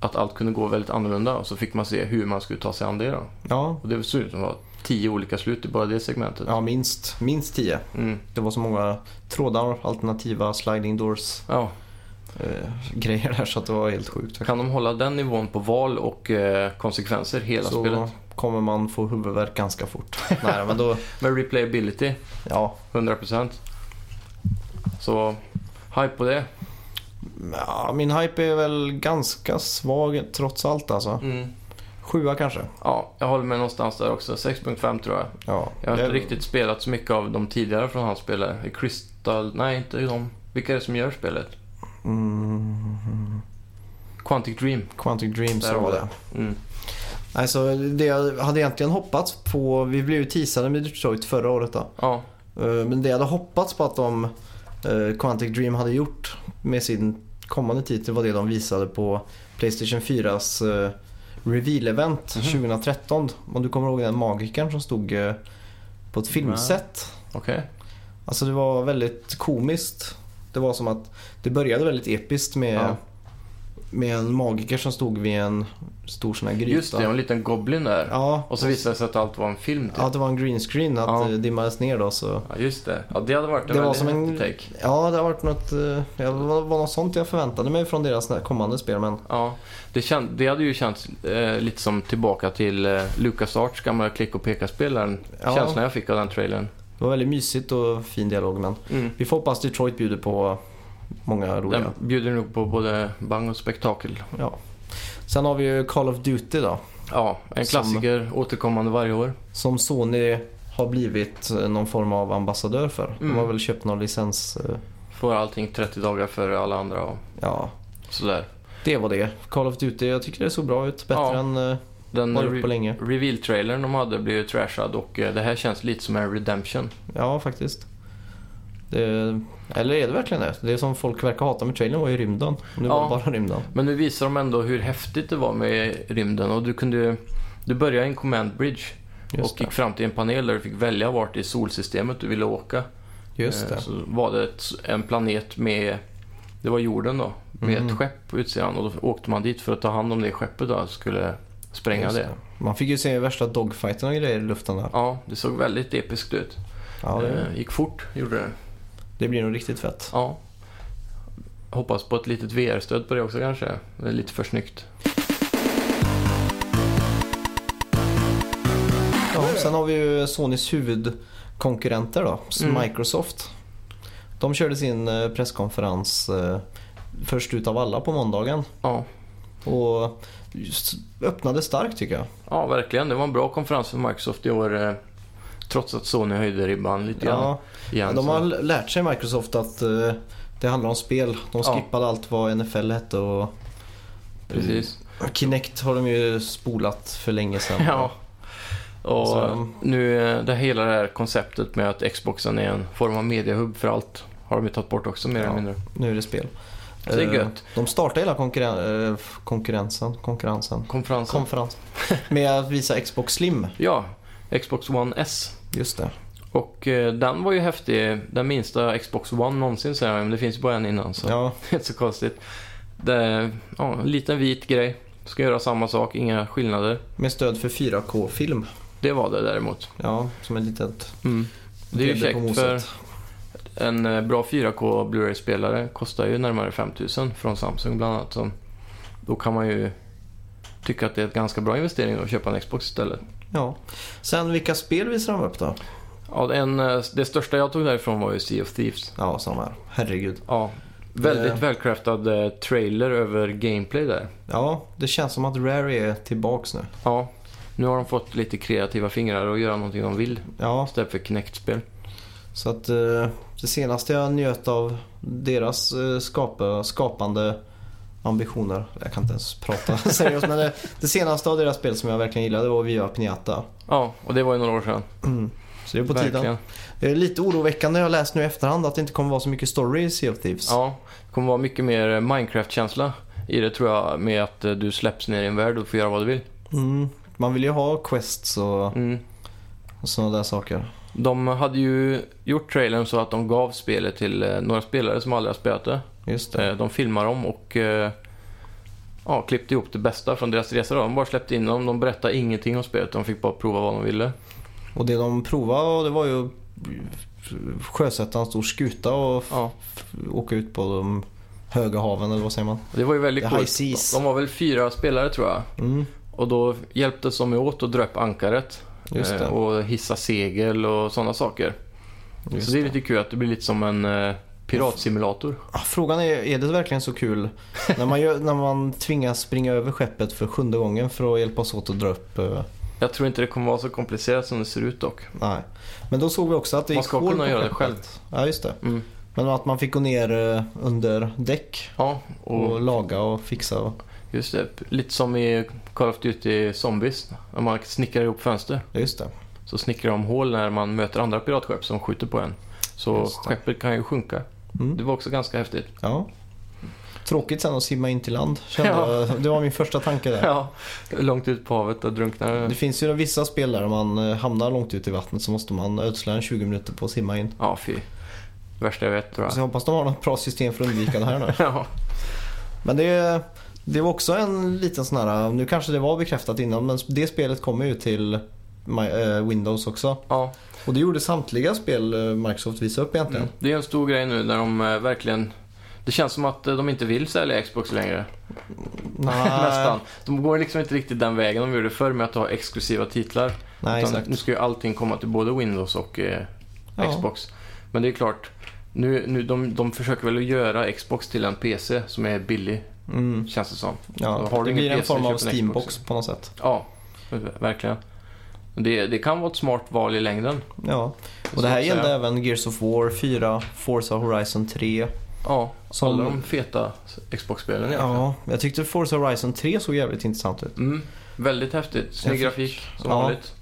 att allt kunde gå väldigt annorlunda och så fick man se hur man skulle ta sig an det. Då.
Ja.
Och det såg ut som att det var tio olika slut i bara det segmentet.
ja, minst, minst tio.
Mm.
Det var så många trådar, alternativa sliding doors
Ja.
eh, grejer där så att det var helt sjukt.
Kan de hålla den nivån på val och eh, konsekvenser hela
så
spelet?
kommer man få huvudvärk ganska fort. Nej, men då,
Med replayability,
ja,
100%. Så, hype på det.
ja, min hype är väl ganska svag trots allt alltså. Sjua kanske.
Ja, jag håller med någonstans där också. 6.5 tror jag.
Ja,
Jag har
det-
inte riktigt spelat så mycket av de tidigare från hans spel. här. I Crystal... Nej, inte de. Vilka är det som gör spelet?
Mm,
Quantic Dream.
Quantic Dreams
Där
så
var
var
det.
det.
Mm.
Nej, så det jag hade egentligen hoppats på, vi blev ju teasade med Detroit förra året då.
Ja,
Eh, Men det jag hade hoppats på att de eh, Quantic Dream hade gjort med sin kommande titel var det de visade på Playstation 4s eh, reveal-event
Mhm.
2013. Om du kommer ihåg den magikern som stod eh, på ett filmset.
okej.
Alltså det var väldigt komiskt. Det var som att det började väldigt episkt med,
Ja.
med en magiker som stod vid en stor sån här gryta.
Just det, en liten goblin där.
Ja,
Och så visade det sig att allt var en film. Typ.
ja, att det var en green screen att
Ja.
det dimmades ner då. Så.
Ja, just det. Ja, det hade varit en
Det var
väldigt
som en-
häftig take.
Ja, det har varit något, eh, ja, det var var något sånt jag förväntade mig från deras nä- kommande spel. Men
Ja, det, känd, det hade ju känts eh, lite som tillbaka till eh, Lucas Arts gamla klick och peka-spel. där. Den
Ja.
Känslan jag fick av den trailern.
det var väldigt mysigt och fin dialog. Men
Mm.
vi får hoppas Detroit bjuder på många roliga.
Den bjuder nog på både bang och spektakel.
Ja. Sen har vi ju Call of Duty då.
Ja, en
Som-
klassiker återkommande varje år.
Som Sony har blivit eh, någon form av ambassadör för.
Mm.
De har väl köpt någon licens. eh,
Får allting 30 dagar före alla andra och
Ja,
sådär.
det var det. Call of Duty, jag tycker det såg bra ut. Bättre
Ja.
än eh,
Den
vad det gjort på
re-
länge.
reveal-trailern de hade blev ju trashad och eh, det här känns lite som en redemption.
Ja, faktiskt. Det, eller är det verkligen det? Det som folk verkar hata med trailern var ju rymden. Nu
Ja.
var det bara rymden.
Men nu visar de ändå hur häftigt det var med rymden och du kunde ju... Du började i en command bridge
Just
och
det.
gick fram till en panel där du fick välja vart i solsystemet du ville åka.
Just
Eh,
det.
Så var det ett, en planet med... Det var jorden då. Med ett
Mhm.
skepp på utsidan och då åkte man dit för att ta hand om det skeppet då. Skulle spränga
Just
det.
Man fick ju se värsta dogfighten och grejer i luften där.
Ja, det såg väldigt episkt ut.
Ja, det,
Eh, Gick fort, gjorde det.
det blir nog riktigt fett.
Ja. Hoppas på ett litet VR-stöd på det också kanske. Det är lite för snyggt.
Ja, sen har vi ju Sonys huvudkonkurrenter då,
Mm.
Microsoft. De körde sin eh, presskonferens eh, först utav alla på måndagen.
Ja.
Och just öppnade starkt tycker jag.
ja, verkligen. Det var en bra konferens för Microsoft i år. eh, Trots att Sony höjde ribban lite grann.
Ja,
igen,
de
så-
har lärt sig Microsoft att eh, det handlar om spel. De
Ja.
skippade allt vad NFL hette och
Precis.
Kinect har de ju spolat för länge sedan.
Ja. Och
Så-
nu eh, det hela det här konceptet med att Xboxen är en form av mediahubb för allt. Har de ju tagit bort också mer eller
Ja.
mindre.
Nu är det spel.
Så det är
Eh,
gött.
De startade hela konkurren- eh, konkurrensen, konkurrensen.
Konferensen.
Konferens. Med att visa Xbox Slim.
Ja, Xbox One S.
Just det.
Och eh, den var ju häftig. Den minsta Xbox One någonsin säger jag, men det finns ju bara en innan så
Ja,
det är inte så konstigt. Det är, ja, en liten vit grej. Ska göra samma sak, inga skillnader.
med stöd för 4K-film.
Det var det däremot.
Ja, som ett litet
Det är
grädde
ju
på
käckt för
moset.
en eh, bra 4K Blu-ray-spelare kostar ju närmare 5000 från Samsung bland annat. Så då kan man ju tycka att det är ett ganska bra investering att köpa en Xbox istället.
Ja. Sen vilka spel visar de upp då?
Ja, en, eh, det största jag tog därifrån var ju Sea of Thieves.
Ja, samma här. Herregud.
Ja, väldigt
Eh.
välcraftad eh, trailer över gameplay där.
Ja, det känns som att Rare är tillbaks nu.
Ja, nu har de fått lite kreativa fingrar och göra någonting de vill
Ja,
istället för Kinect-spel.
så att eh, det senaste jag njöt av deras eh, skapa, skapande ambitioner. Jag kan inte ens prata seriöst men det, det senaste av deras spel som jag verkligen gillade var Viva Pinata. Mm.
Ja, och det var ju några år sedan.
Så det är på tiden. Det är lite oroväckande jag har läst nu i efterhand att det inte kommer vara så mycket story i Sea of Thieves.
Ja, det kommer vara mycket mer eh, Minecraft-känsla i det tror jag med att eh, du släpps ner i en värld och får göra vad du vill.
Mm. Man vill ju ha quests och
Mm.
sådana där saker.
De hade ju gjort trailern så att de gav spelet till eh, några spelare som aldrig har spelat det.
Just det.
Eh, De filmar dem och eh, ja, klippte ihop det bästa från deras resa. Då. De bara släppte in dem, de berättade ingenting om spelet. De fick bara prova vad de ville.
Och det de provade det var ju att sjösätta en stor skuta och f-
Ja.
f- åka ut på de höga haven eller vad säger man?
Det var ju väldigt
The
coolt.
high seas.
De var väl fyra spelare tror jag.
Mm.
Och då hjälptes de åt att dra upp ankaret
Just det.
eh, och hissa segel och sådana saker.
Just
så det är lite kul att det blir lite som en eh, piratsimulator.
Ah, Frågan är, är det verkligen så kul när man, gör, när man tvingas springa över skeppet för sjunde gången för att hjälpas åt att dra upp? eh,
Jag tror inte det kommer vara så komplicerat som det ser ut dock.
nej. Men då såg vi också att det
Man
gick
ska
hål
kunna
på
göra det
skeppet.
själv.
Ja, just det.
Mm.
Men att man fick gå ner eh, under däck
Ja,
och
och
laga och fixa. Och,
just det. Lite som i Call of Duty Zombies. När man snickrar ihop fönster
Ja, just det.
så snickrar de hål när man möter andra piratskepp som skjuter på en. Så
Just det.
skeppet kan ju sjunka.
Mm.
Det var också ganska häftigt.
Ja. Tråkigt sen att simma in till land. Kände
Ja.
jag. Det var min första tanke där.
Ja, långt ut på havet och drunknar.
Det finns ju vissa spel där man eh, hamnar långt ut i vattnet så måste man ödsla en 20 minuter på att simma in.
Ja, fy. Värsta jag vet tror
Så jag
jag.
hoppas de har något bra system för att undvika det här nu.
Ja,
Men det, det var också en liten sån här, nu kanske det var bekräftat innan men det spelet kommer ju till My, eh, Windows också.
ja. Mm.
Och det gjorde samtliga spel eh, Microsoft visade upp egentligen.
Det är en stor grej nu när de eh, verkligen... Det känns som att eh, de inte vill sälja Xbox längre. Mm. Nästan. De går liksom inte riktigt den vägen de gjorde förr med att ha exklusiva titlar.
Nej,
Utan
exakt.
Nu ska ju allting komma till både Windows och eh,
Ja.
Xbox. Men det är klart, nu, nu, de, de försöker väl att göra Xbox till en PC som är billig,
Mm,
känns det som.
ja.
Har du
det
ingen
blir en
PC,
form av
köp en
Steambox
Xbox.
på något sätt.
Ja, verkligen. Det, det kan vara ett smart val i längden.
Ja.
så
Och det här
att säga.
gällde även Gears of War 4, Forza Horizon 3.
Ja,
Som-
alla de feta Xbox-spelen egentligen.
Ja, jag tyckte Forza Horizon 3 såg jävligt intressant ut.
Mm, väldigt häftigt. Snygg
Jag fick-
grafik som
Ja.
vanligt.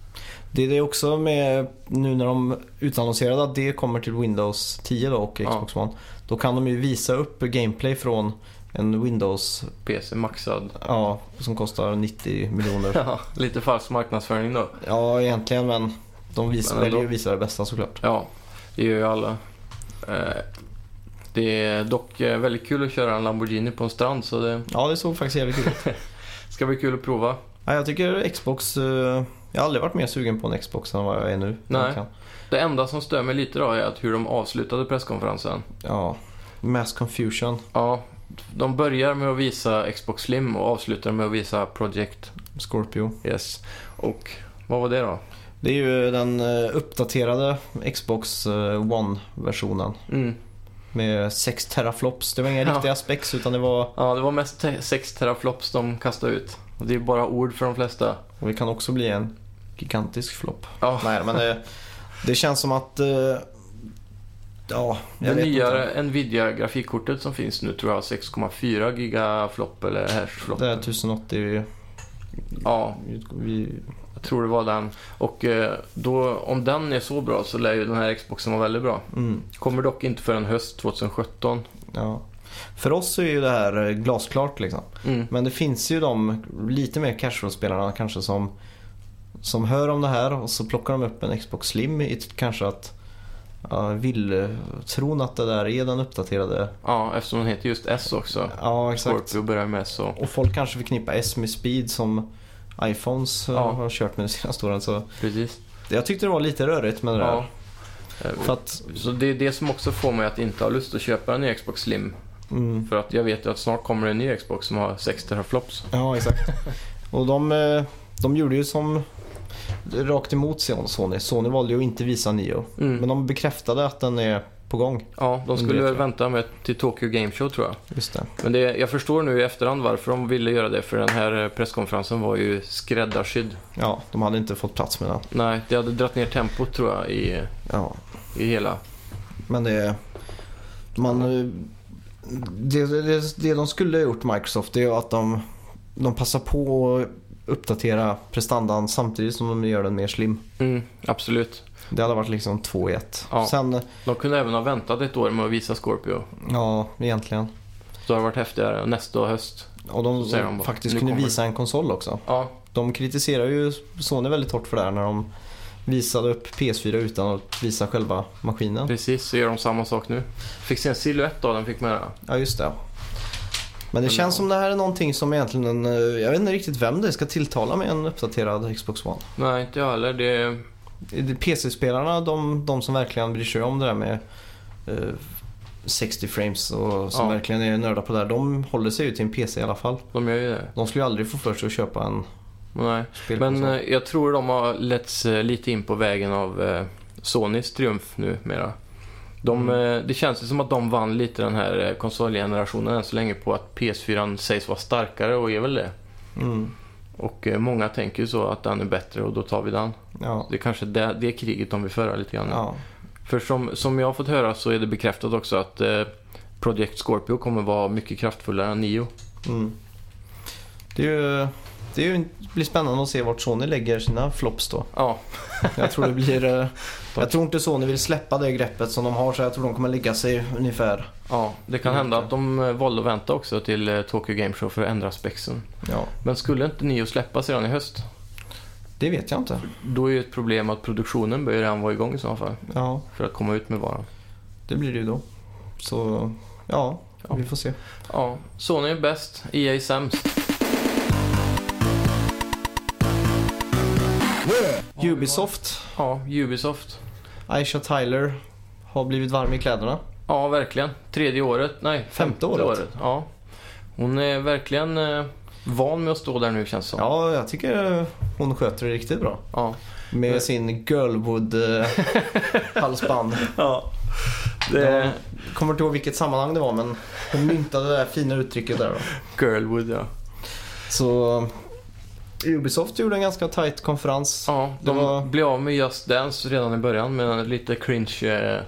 Det är det också med nu när de utannonserade att det kommer till Windows 10 då och
Ja.
Xbox One. Då kan de ju visa upp gameplay från en Windows
PC maxad.
ja, som kostar 90 miljoner.
Ja, lite falsk marknadsföring då.
ja, egentligen men de visar,
Men ändå.
väljer att visa det bästa såklart.
Ja, det gör ju alla. Eh, Det är dock eh, väldigt kul att köra en Lamborghini på en strand så det
Ja, det såg faktiskt jävligt kul ut.
ska bli kul att prova.
ja, jag tycker Xbox... eh, Jag har aldrig varit mer sugen på en Xbox än vad jag är nu.
Nej.
Jag kan-
Det enda som stör mig lite då är att hur de avslutade presskonferensen.
Ja. Mass confusion.
Ja, de börjar med att visa Xbox Slim och avslutar med att visa Project
Scorpio.
S. Och vad var det då?
Det är ju den eh, uppdaterade Xbox eh, One-versionen.
Mm.
Med 6 teraflops. Det var inga
Ja.
riktiga specs utan det var...
Ja, det var mest 6 teraflops de kastade ut. Och det är bara ord för de flesta.
Och det kan också bli en gigantisk flopp.
Ja,
Nej men det, det känns som att... eh, Ja, jag
det
vet
nyare
inte.
Nvidia-grafikkortet som finns nu tror jag har 6,4 gigaflop eller hashflop.
Det är 1080.
Ja,
Vi,
jag tror det var den. Och eh, då, om den är så bra så lär ju den här Xboxen vara väldigt bra.
mm,
Kommer dock inte förrän höst 2017.
ja. För oss så är ju det här eh, glasklart liksom.
Mm.
Men det finns ju de lite mer casual-spelarna kanske som, som hör om det här och så plockar de upp en Xbox Slim i t- kanske att ja, vill eh, tron att det där är den uppdaterade.
Ja, eftersom den heter just S också.
Ja, exakt.
Scorpio börjar med så.
Och folk kanske förknippar S med speed som iPhones eh,
Ja.
har kört med de senaste åren. Så
Precis.
jag tyckte det var lite rörigt med det
Ja.
där.
Eh,
För att,
Så det är det som också får mig att inte ha lust att köpa en ny Xbox Slim.
mm,
För att jag vet ju att snart kommer en ny Xbox som har 6 teraflops.
ja, exakt. och de, eh, de gjorde ju som rakt emot Sony. Sony valde ju att inte visa Nio.
Mm.
Men de bekräftade att den är på gång.
Ja, de
Det
skulle
tror
väl
jag.
vänta med till Tokyo Game Show tror jag.
Just det.
Men det, jag förstår nu i efterhand varför de ville göra det, för den här eh, presskonferensen var ju skräddarsydd.
Ja, de hade inte fått plats med den.
Nej, det hade dragit ner tempot tror jag i,
Ja,
i hela.
men det... Man, eh, det, det, det de skulle ha gjort Microsoft det är att de, de passar på att uppdatera prestandan samtidigt som de gör den mer slim.
Mm, absolut.
Det hade varit liksom två i ett.
Ja.
Sen,
De kunde även ha väntat ett år med att visa Scorpio.
ja egentligen.
Så hade det varit häftigare nästa höst.
Och de,
Så säger de bara,
faktiskt
"Nu
kunde
kommer
visa en konsol också.
Ja,
De kritiserar ju Sony väldigt hårt för det här när de visade upp PS4 utan att visa själva maskinen.
precis. Så gör de samma sak nu. Fick se en silhuett av den fick med det.
Ja, just det. Men det känns som det här är någonting som egentligen, en, eh, jag vet inte riktigt vem det ska tilltala med en uppdaterad Xbox One.
Nej, inte jag heller. Det,
Är det PC-spelarna, de, de som verkligen bryr sig om det där med eh, 60 frames och som
Ja.
verkligen är nördar på det här, de håller sig ju till en PC i alla fall.
de gör ju det.
De skulle ju aldrig få för sig att köpa en
Nej.
Spelkonsol.
Men eh, jag tror de har letts eh, lite in på vägen av eh, Sonys triumf nu mera. De, eh, det känns ju som att de vann lite den här eh, konsolgenerationen än så länge på att PS4 sägs vara starkare och är väl det.
mm.
Och eh, många tänker ju så att den är bättre och då tar vi den.
ja.
Det är kanske det, det kriget de vill föra lite grann.
ja.
För som, som jag har fått höra så är det bekräftat också att eh, Project Scorpio kommer vara mycket kraftfullare än Nio.
Mm. Det, är ju, det är ju, det blir spännande att se vart Sony lägger sina flops då.
Ja,
Jag tror det blir... eh, jag tror inte Sony vill släppa det greppet som de har så jag tror de kommer lägga sig ungefär.
ja, det kan
Mm,
hända
okej.
att de eh, valde att vänta också till eh, Tokyo Game Show för att ändra spexen.
Ja.
Men skulle inte Nio släppas redan i höst?
Det vet jag inte.
Då är ju ett problem att produktionen bör ju redan vara igång i så fall.
Ja,
För att komma ut med varan.
det blir det ju då. Så ja,
Ja.
vi får se.
Ja, Sony är bäst, EA är sämst.
Ubisoft,
Ja, Ubisoft.
Aisha Tyler har blivit varm i kläderna.
Ja, verkligen. Tredje året, nej, femte,
året.
året. Ja. Hon är verkligen eh, van med att stå där nu känns det som.
Ja, jag tycker hon sköter det riktigt bra.
Ja.
Med sin eh, Girlwood-halsband.
ja.
Det... Kommer inte ihåg vilket sammanhang det var men hon myntade det där fina uttrycket där då.
Girlwood ja.
Så Ubisoft gjorde en ganska tight konferens.
Ja, de
Det var-
blev av med Just Dance redan i början med en lite cringe eh,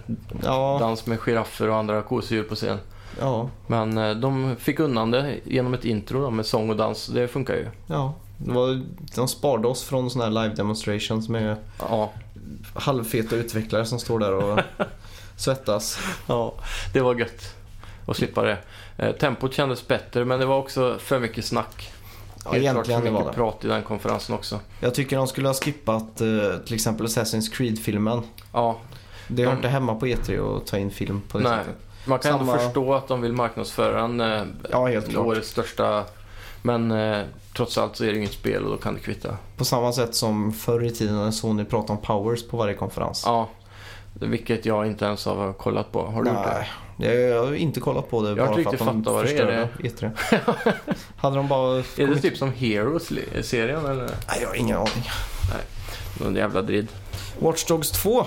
Ja,
dans med giraffer och andra kosedjur på scen.
ja,
Men eh, de fick undan det genom ett intro då, med sång och dans. Det funkar ju.
ja. Det var, de sparade oss från sådana här live demonstrations med
Ja,
halvfeta utvecklare som står där och svettas.
ja det var gött att slippa det. Eh, Tempot kändes bättre men det var också för mycket snack.
Ja,
Helt klart
egentligen
för
det
mycket
var det.
prat i den konferensen också.
Jag tycker de skulle ha skippat eh, till exempel Assassin's Creed-filmen.
Ja,
Det hör
De-
inte hemma på E3 att ta in film på det
Nej.
sättet.
man kan
Samma-
ändå förstå att de vill marknadsföra en eh,
Ja, helt klart.
årets största. Men eh, trots allt så är det inget spel och då kan det kvitta.
På samma sätt som förr i tiden när Sony pratade om powers på varje konferens.
Ja, vilket jag inte ens har kollat på. Har du gjort det?
Nej, jag, jag har inte kollat på det
inte
bara för att
riktigt
de
fattat vad det är.
förstörde E3. Hade de bara...
Är det typ som Heroes-serien eller?
Nej, jag har ingen aning.
Någon jävla drid.
Watch Dogs 2.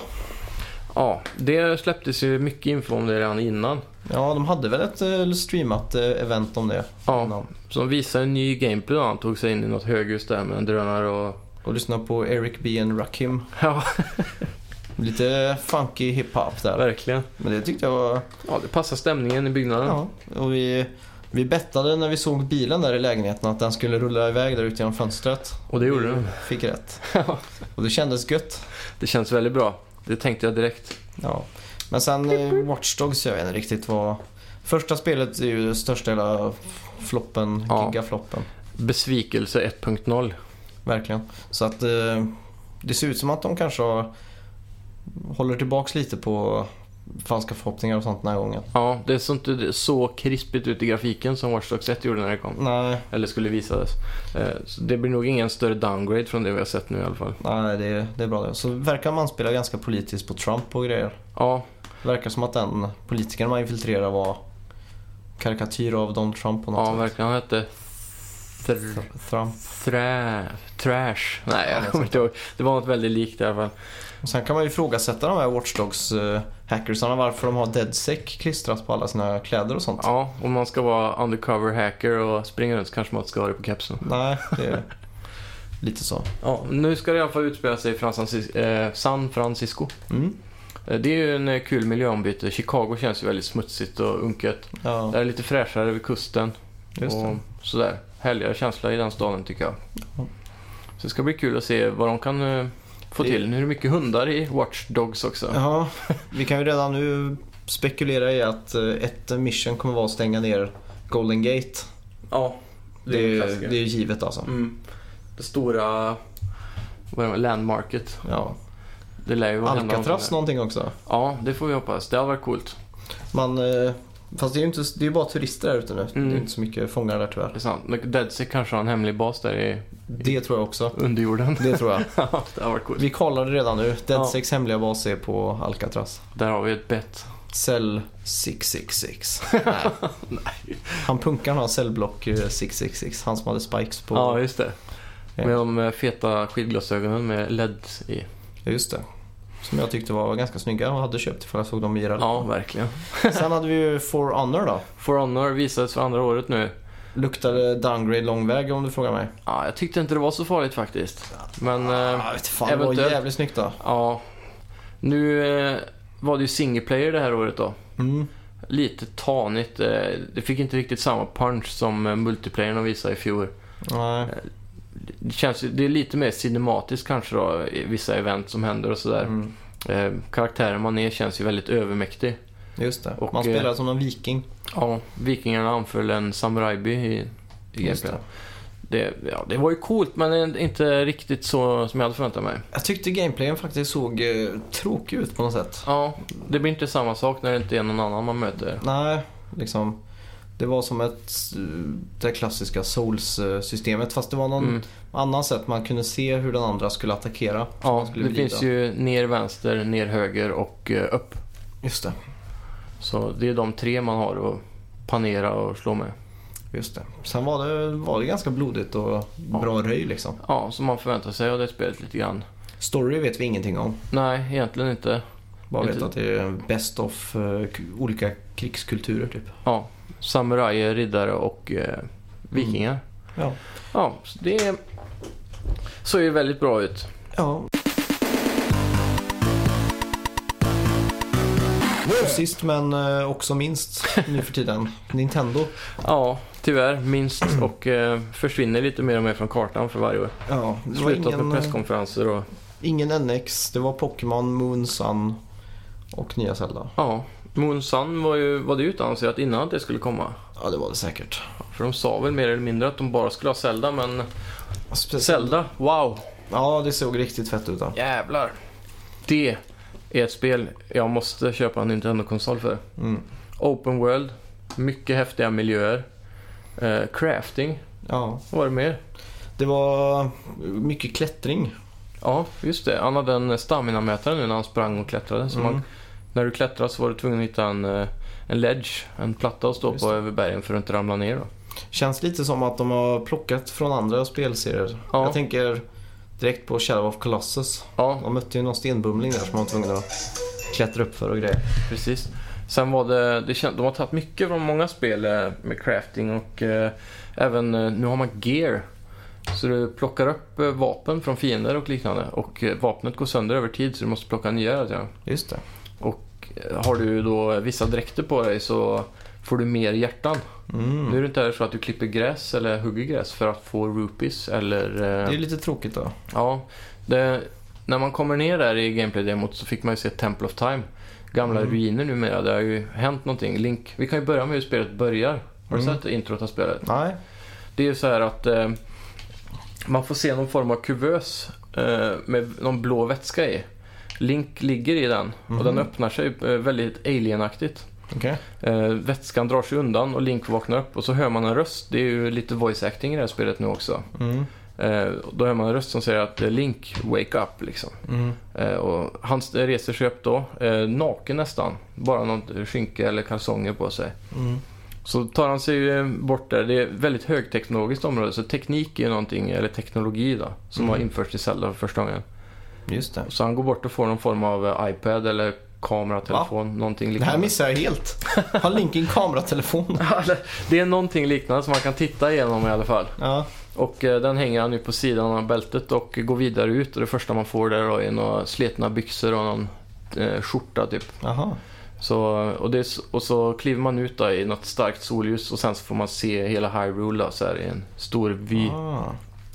Ja, det släpptes ju mycket info om det redan innan.
Ja, de hade väl ett eh, streamat eh, event om det.
Ja,
innan.
som visar en ny gameplay då. Han tog sig in i något höghus där med en drönare och...
Och lyssna på Eric B and Rakim.
Ja,
Lite funky hiphop där.
verkligen.
Men det tyckte jag var...
Ja, det passar stämningen i byggnaden.
Ja. Och vi, vi bettade när vi såg bilen där i lägenheten att den skulle rulla iväg där ute genom fönstret.
Och det gjorde den.
Fick rätt. Och det kändes gött.
Det känns väldigt bra. Det tänkte jag direkt.
Ja. Men sen eh, Watch Dogs, jag vet inte riktigt vad... Första spelet är ju största hela floppen,
Ja.
gigafloppen.
Besvikelse 1.0.
Verkligen. Så att eh, det ser ut som att de kanske har, håller tillbaks lite på falska förhoppningar och sånt den här gången.
Ja, det såg inte så krispigt ut i grafiken som Watch Dogs 1 gjorde när det kom.
Nej,
Eller skulle visas. Eh, så Det blir nog ingen större downgrade från det vi har sett nu i alla fall.
nej det, är- det är bra det. Så verkar man spela ganska politiskt på Trump och grejer.
Ja,
Verkar som att den politikern man infiltrerar var karikatyr av Donald Trump på något
ja
sätt.
verkligen. Han hette... Thr...
Trump.
Thrä... Trash. Nej, jag kommer inte ihåg. Det var något väldigt likt i alla fall.
Och sen kan man ju ifrågasätta de här Watchdogs eh, hackersarna varför de har DeadSec klistrat på alla sina kläder och sånt.
Ja, om man ska vara undercover hacker och springa runt så kanske man ska ha det på kepsen.
Nej, det är lite så.
Ja, nu ska det i alla fall utspela sig i Frans- eh, San Francisco.
Mm.
Eh, Det är ju en eh, kul miljöombyte. Chicago känns ju väldigt smutsigt och unket.
Ja,
Där är det lite fräschare vid kusten.
just det.
och sådär. Härligare känsla i den staden tycker jag.
Ja.
Så det ska bli kul att se vad de kan eh, få
Det-
till. Nu är det mycket hundar i Watch Dogs också.
Ja, vi kan ju redan nu spekulera i att eh, ett mission kommer vara att stänga ner Golden Gate.
Ja,
Det är, det är ju givet alltså.
Mm. Det stora vad är det, landmarket.
Ja.
Det lär ju vara hända
Alcatraz
någonting
någonting också.
där. Ja, det får vi hoppas. Det har varit coolt.
Man, eh, fast det är ju inte, det är ju bara turister där ute nu.
Mm.
Det är inte så mycket fångar där
Det
tyvärr.
är sant. Men Deadsea kanske har en hemlig bas där i
Det tror jag också.
underjorden.
Det tror jag.
Ja, det har varit coolt.
Vi kollade redan nu. Deadsex hemliga bas är på Alcatraz.
Där har vi ett bett.
Cell 666. Nej. Han punkar några cellblock eh, 666. Han som hade spikes på
Ja, just det. Med de eh, feta skidglasögonen med LED i.
Ja, just det. Som jag tyckte var ganska snygga och hade köpt ifall jag såg dem i IRL.
Ja, verkligen.
Sen hade vi ju For Honor då.
For Honor visades för andra året nu.
Luktade downgrade lång väg om du frågar mig.
Ja, jag tyckte inte det var så farligt faktiskt. Men... eh,
Ah, vet fan, det var
eventuellt.
jävligt snyggt då.
Ja. Nu eh, var det ju single player det här året då.
Mm.
Lite tanigt. eh, Det fick inte riktigt samma punch som eh, multiplayern de visade i fjol.
Nej.
Det, känns, ju- det är lite mer cinematiskt kanske då, i vissa event som händer och sådär.
Mm.
Eh, karaktären man är känns ju väldigt övermäktig.
Just det.
Och,
Man
eh,
spelade som en viking.
Ja, vikingarna anföll en samurajby i, i
Just
gameplay. Det, ja, det var ju coolt men inte riktigt så som jag hade förväntat mig.
Jag tyckte gameplayen faktiskt såg eh, tråkig ut på något sätt.
Ja, det blir inte samma sak när det inte är någon annan man möter.
Nej, liksom. Det var som ett, eh, det klassiska souls-systemet fast det var någon
Mm.
annan sätt man kunde se hur den andra skulle attackera.
Ja,
skulle
det
glida.
finns ju ner vänster, ner höger och eh, upp.
Just det.
Så det är de tre man har att panera och slå med.
Just det. Sen var det, var det ganska blodigt och bra röj liksom.
Ja, som man förväntar sig av det spelet lite grann.
Story vet vi ingenting om.
Nej, egentligen inte.
Bara vet
Inte-
att det är best of eh, k- olika krigskulturer typ.
Ja, samurajer, riddare och eh, vikingar.
Mm. Ja.
Ja, så det såg ju väldigt bra ut.
ja. Och Sist men eh, också minst nu för tiden. Nintendo.
Ja, tyvärr minst och eh, försvinner lite mer och mer från kartan för varje år.
Ja, det var
Slutat
ingen, eh,
med presskonferenser och
ingen NX. Det var Pokémon, Moon Sun och nya Zelda.
ja, Moon Sun var ju var det ju utannonserat innan att det skulle komma.
Ja, det var det säkert.
För de sa väl mer eller mindre att de bara skulle ha Zelda men
Speciellt-
Zelda, wow,
Ja, det såg riktigt fett ut. då.
jävlar. Det är ett spel jag måste köpa en Nintendo-konsol för.
Mm.
Open World, mycket häftiga miljöer. Eh, crafting,
Ja,
vad var det mer?
det var mycket klättring.
Ja, just det. Han hade en stamina-mätare nu när han sprang och klättrade. Så
Mm.
man, när du klättrade så var du tvungen att hitta en, eh, en ledge, en platta att stå
Just
på
det.
över bergen för att inte ramla ner. Då.
Känns lite som att de har plockat från andra spelserier.
Ja.
Jag tänker direkt på Shadow of Colossus.
Ja,
De mötte ju någon stenbumling där som de var tvungna att klättra upp för och grejer.
precis. Sen var det, det känd, de har tagit mycket från många spel eh, med crafting och eh, även eh, nu har man gear. Så du plockar upp eh, vapen från fiender och liknande och eh, vapnet går sönder över tid så du måste plocka nya hela tiden.
Just det.
Och eh, har du då vissa dräkter på dig så får du mer hjärtan.
Mm.
Nu är det inte så att du klipper gräs eller hugger gräs för att få rupees eller...
Det
eh,
är ju lite tråkigt då.
Ja, det, när man kommer ner där i gameplay-demot så fick man ju se Temple of Time. Gamla
Mm.
ruiner numera, det har ju hänt någonting. Link, vi kan ju börja med hur spelet börjar. Har du
Mm.
sett introt av spelet?
Nej.
Det är ju så här att eh, man får se någon form av kuvös eh, med någon blå vätska i. Link ligger i den
Mhm.
och den öppnar sig eh, väldigt alienaktigt.
Okej.
Eh, vätskan drar sig undan och Link vaknar upp och så hör man en röst. Det är ju lite voice acting i det här spelet nu också.
Mm.
Eh, då hör man en röst som säger att eh, Link, wake up liksom.
Mm.
Eh, och han st- reser sig upp då, eh, naken nästan. Bara något skynke eller kalsonger på sig.
Mm.
Så tar han sig eh, bort där. Det är ett väldigt högteknologiskt område. Så teknik är ju någonting, eller teknologi då, som
Mm.
har införts i Zelda för första gången.
Just det.
Så han går bort och får någon form av eh, iPad eller kamera, telefon, någonting
Det här
liknande.
missar jag helt. Har Link en kameratelefon?
Eller, det är någonting liknande som man kan titta igenom i alla fall.
Ja.
Och eh, den hänger han nu på sidan av bältet och går vidare ut och det första man får där då är några sletna byxor och någon eh, skjorta typ.
Jaha.
Så, och, det, är s- och så kliver man ut då i något starkt solljus och sen så får man se hela Hyrule då, så här, i en stor vy.
Ah.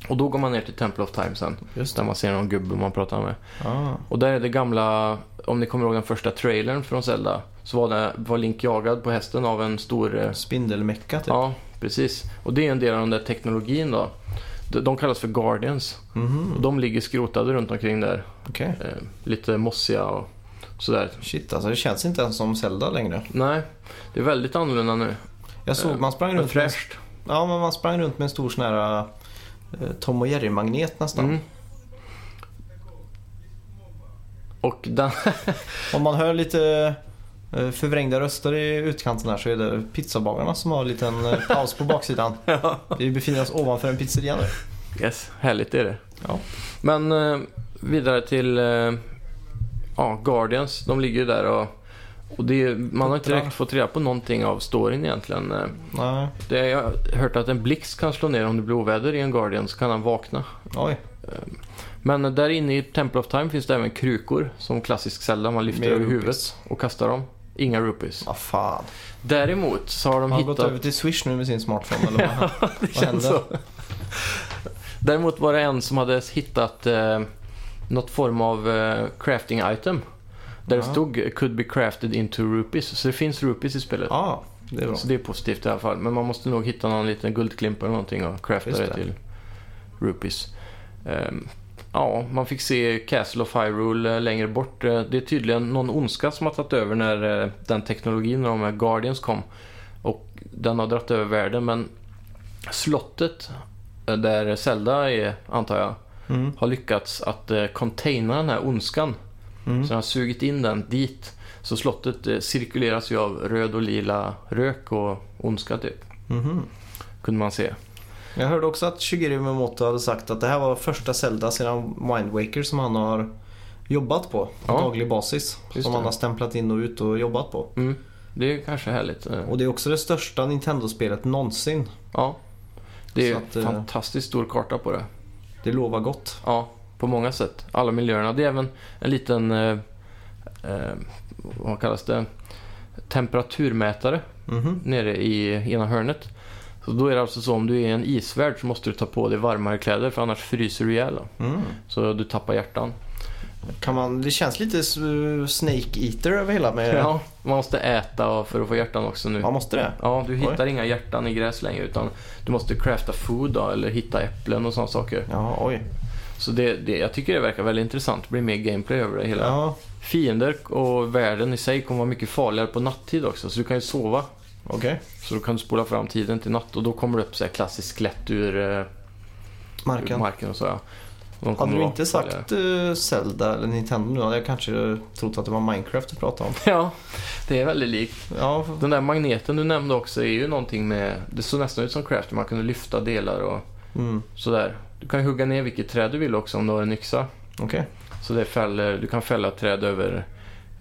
Och då går man ner till Temple of Time sen.
Just
Där
det.
man ser någon gubbe man pratar med.
Ah.
Och där är det gamla, om ni kommer ihåg den första trailern från Zelda. Så var, det, var Link jagad på hästen av en stor eh,
Spindelmecka typ.
Ja, precis. Och det är en del av den där teknologin då. De- De kallas för Guardians. Och
Mhm.
de ligger skrotade runt omkring där.
Okej.
Eh, lite mossiga och sådär.
Shit alltså det känns inte ens som Zelda längre.
Nej, det är väldigt annorlunda nu.
Jag såg man sprang
Men
runt med
Eh, fräscht.
Ja, men man sprang runt med en stor sån här eh, Tom och Jerry-magnet nästan.
Mm. Och den...
Om man hör lite eh, förvrängda röster i utkanten här så är det pizzabagarna som har en liten eh, paus på baksidan. Vi befinner oss ovanför en pizzeria nu.
Yes, härligt är det.
Ja.
Men eh, vidare till eh, ja, Guardians. De ligger ju där och, och det, är- man har inte direkt fått reda på någonting av storyn egentligen. Eh,
Nej.
Det, jag har hört att en blixt kan slå ner om det blir oväder i en Guardian så kan han vakna.
Oj.
Men eh, där inne i Temple of Time finns det även krukor som klassisk Zelda. Man lyfter
Med
över
rupees.
huvudet och kastar dem. Inga rupees.
Vad fan.
Däremot så har de
Har han gått
hittat...
över till Swish nu med sin smartphone eller vad?
Det
Vad
känns så.
hände?
Däremot var det en som hade hittat eh, något form av eh, crafting item. Där det
Ja.
stod could be crafted into rupees. Så det finns rupees i spelet.
Ja, det är bra.
Så det är positivt i alla fall. Men man måste nog hitta någon liten guldklimp eller någonting och crafta
Just
det.
det.
till rupees. Ehm, ja, man fick se Castle of Hyrule eh, längre bort. Eh, det är tydligen någon ondska som har tagit över när eh, den teknologin om eh, Guardians kom. Och den har dragit över världen men slottet eh, där Zelda är, antar jag,
Mm.
har lyckats att eh, containa den här ondskan.
Mm.
Så den har sugit in den dit. Så slottet eh, cirkuleras ju av röd och lila rök och ondska typ.
Mhm.
Kunde man se.
Jag hörde också att Shigeru Miyamoto hade sagt att det här var första Zelda sedan Wind Waker som han har jobbat på på
Ja.
daglig basis.
Just
som
det.
han har stämplat in och ut och jobbat på.
Mm. Det är kanske härligt. eh.
Och det är också det största Nintendo-spelet någonsin.
Ja. Det är
Så
en
att, eh,
fantastiskt stor karta på det.
Det lovar gott.
Ja, på många sätt. Alla miljöerna. Det är även en liten, eh, eh, vad kallas det, temperaturmätare
Mhm.
nere i ena hörnet. Så då är det alltså så om du är i en isvärld så måste du ta på dig varmare kläder för annars fryser du ihjäl. då.
Mm.
Så du tappar hjärtan.
Kan man, det känns lite s- Snake Eater över hela med...
Ja, man måste äta för att få hjärtan också nu.
Man måste det?
Ja, du hittar inga hjärtan i gräs längre utan du måste crafta food då, eller hitta äpplen och sådana saker.
Ja, oj.
Så det, det, jag tycker det verkar väldigt intressant. Det blir mer gameplay över det hela.
Ja,
Fiender och världen i sig kommer vara mycket farligare på natttid också så du kan ju sova.
okej.
Så då kan du spola fram tiden till natt och då kommer det upp så här klassiskt skelett ur, eh, ur
Marken.
marken och så. Ja. Och de kommer
Hade du
vara
inte
farligare.
sagt eh, Zelda eller Nintendo nu hade jag kanske trott att det var Minecraft du pratade om.
Ja, det är väldigt likt.
Ja,
Den där magneten du nämnde också är ju någonting med... Det såg nästan ut som Crafter, man kunde lyfta delar och
mm.
sådär. Du kan ju hugga ner vilket träd du vill också om du har en yxa.
okej.
Så det fäller, du kan fälla träd över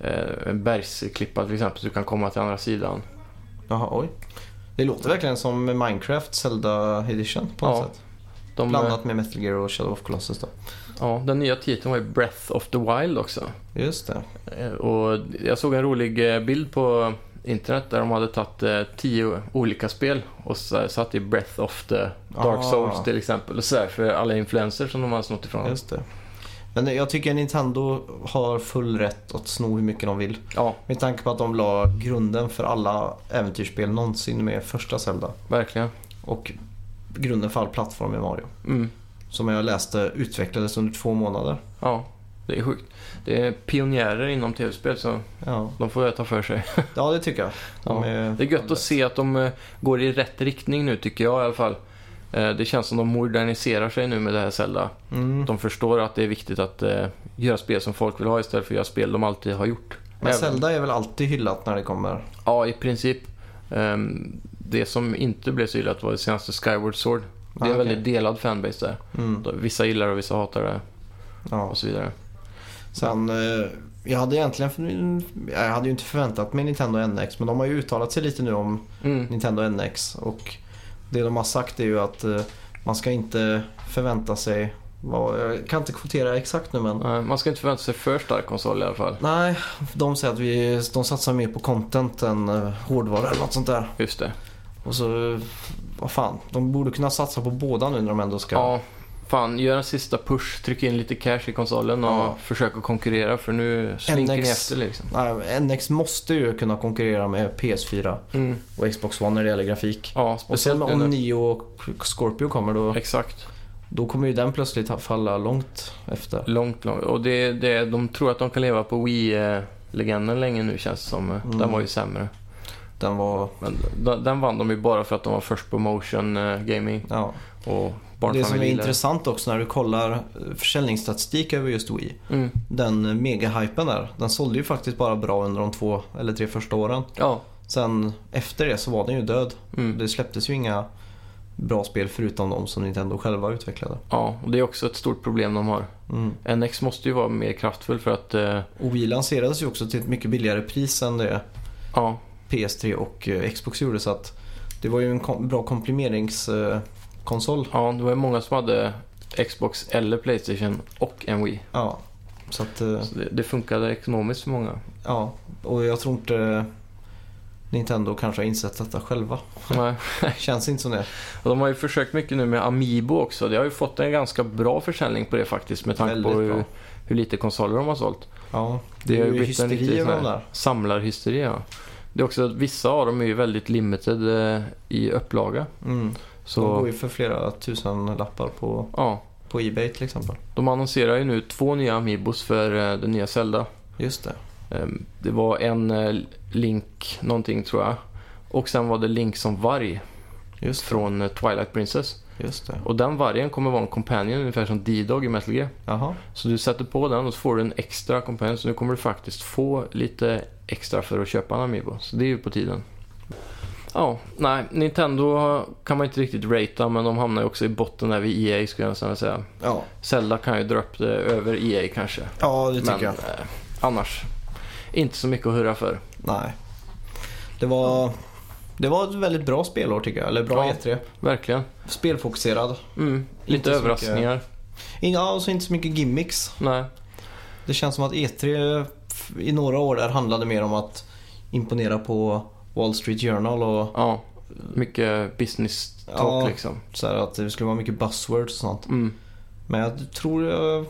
eh, en bergsklippa till exempel så du kan komma till andra sidan.
Jaha, oj. Det låter verkligen som Minecraft Zelda Edition på något
Ja,
sätt.
De, eh,
Blandat med Metal Gear och Shadow of Colossus då.
ja, den nya titeln var ju Breath of the Wild också.
Just det.
Eh, Och jag såg en rolig eh, bild på internet där de hade tagit eh, tio olika spel och så- satt i Breath of the Dark
Ah.
Souls till exempel. Och sådär för alla influenser som de har snott ifrån.
Just det. Men jag tycker Nintendo har full rätt att sno hur mycket de vill.
Ja,
Med tanke på att de la grunden för alla äventyrsspel någonsin med första Zelda.
verkligen.
Och grunden för all plattform i Mario.
Mm.
Som jag läste utvecklades under två månader.
Ja, det är sjukt. Det är pionjärer inom tv-spel så
Ja,
de får jag ta för sig.
ja det tycker jag.
Ja.
De är...
Det är gött att se att de eh, går i rätt riktning nu tycker jag i alla fall. Eh, Det känns som de moderniserar sig nu med det här Zelda.
Mm.
De förstår att det är viktigt att eh, göra spel som folk vill ha istället för att göra spel de alltid har gjort.
Men
Även-
Zelda är väl alltid hyllat när det kommer.
Ja, i princip. Ehm, Det som inte blev så hyllat var det senaste Skyward Sword. Det är
Ah,
en
okej.
väldigt delad fanbase där.
Mm.
Vissa gillar det och vissa hatar det
Ja.
och så vidare.
Sen, eh, jag hade egentligen, jag hade ju inte förväntat mig Nintendo NX men de har ju uttalat sig lite nu om
Mm.
Nintendo NX och det de har sagt är ju att eh, man ska inte förvänta sig, vad, jag kan inte kvotera exakt nu men
Eh, Man ska inte förvänta sig för stark konsol i alla fall.
Nej, de säger att vi, de satsar mer på content än eh, hårdvara eller något sånt där.
Just det.
Och så, eh, vad fan, de borde kunna satsa på båda nu när de ändå ska.
Ja, fan gör en sista push, tryck in lite cash i konsolen och
Ja.
försök att konkurrera för nu slinker ni
NX.
efter liksom.
Nej, NX måste ju kunna konkurrera med PS4
Mm.
och Xbox One när det gäller grafik.
Ja,
Och sen
speciellt nu.
om Nio och Scorpio kommer då,
Exakt.
då kommer ju den plötsligt ha- falla långt efter.
Långt, långt. Och det, det, de tror att de kan leva på Wii-legenden länge nu känns det som.
Mm.
Den var ju sämre.
Den var,
Men den, den vann de ju bara för att de var först på motion eh, gaming
ja.
och
Det som är
barnfamiljer.
intressant också när du kollar eh, försäljningsstatistik över just Wii.
Mm.
Den eh, megahypen där, den sålde ju faktiskt bara bra under de två eller tre första åren.
Ja.
Sen efter det så var den ju död.
Mm.
Det släpptes ju inga bra spel förutom de som Nintendo själva utvecklade.
Ja, och det är också ett stort problem de har.
Mm.
NX måste ju vara mer kraftfull för att... eh,
Och Wii lanserades ju också till ett mycket billigare pris än det
Ja,
PS3 och eh, Xbox gjorde så att det var ju en kom- bra eh, komplementeringskonsol.
ja, det var ju många som hade Xbox eller Playstation och en Wii.
Ja. Så att, eh,
Så det, det funkade ekonomiskt för många.
ja. Och jag tror inte Nintendo kanske har insett detta själva.
Nej.
Känns inte som det.
Och de har ju försökt mycket nu med Amiibo också. Det har ju fått en ganska bra försäljning på det faktiskt med tanke
Väldigt
på
bra.
hur, hur lite konsoler de har sålt.
Ja.
Det har
ju
ju blivit en
hysteri
riktig
över
sån
de
här
där.
samlarhysteri. Ja. Det är också att vissa av dem är ju väldigt limited eh, i upplaga.
Mm. Så... De
Så
går ju för flera tusen lappar på,
ja,
på Ebay till exempel.
de annonserar ju nu två nya Amiibos för eh, den nya Zelda.
Just det.
Ehm, Det var en eh, Link någonting tror jag. Och sen var det Link som varg
Just,
från eh, Twilight Princess.
just det.
Och den vargen kommer vara en companion ungefär som D-Dog i Metal Gear.
Jaha.
Så du sätter på den och så får du en extra companion. Så nu kommer du faktiskt få lite extra för att köpa en Amiibo. Så det är ju på tiden. Ja, nej. Nintendo kan man inte riktigt ratea men de hamnar ju också i botten där vid EA skulle jag nästan vilja säga.
Ja,
Zelda kan ju dra upp det över EA kanske.
ja det tycker
Men
jag.
eh, annars, inte så mycket att hurra för.
Nej. Det var, det var ett väldigt bra spelår tycker jag. Eller bra
Ja.
E3.
Verkligen.
Spelfokuserad.
Mm, lite
så
överraskningar.
Inga, alltså inte så mycket gimmicks.
Nej.
Det känns som att E3 f- i några år där handlade mer om att imponera på Wall Street Journal och
Ja, mycket business talk
Ja.
liksom.
så här att det skulle vara mycket buzzwords och sånt.
Mm.
Men jag tror eh,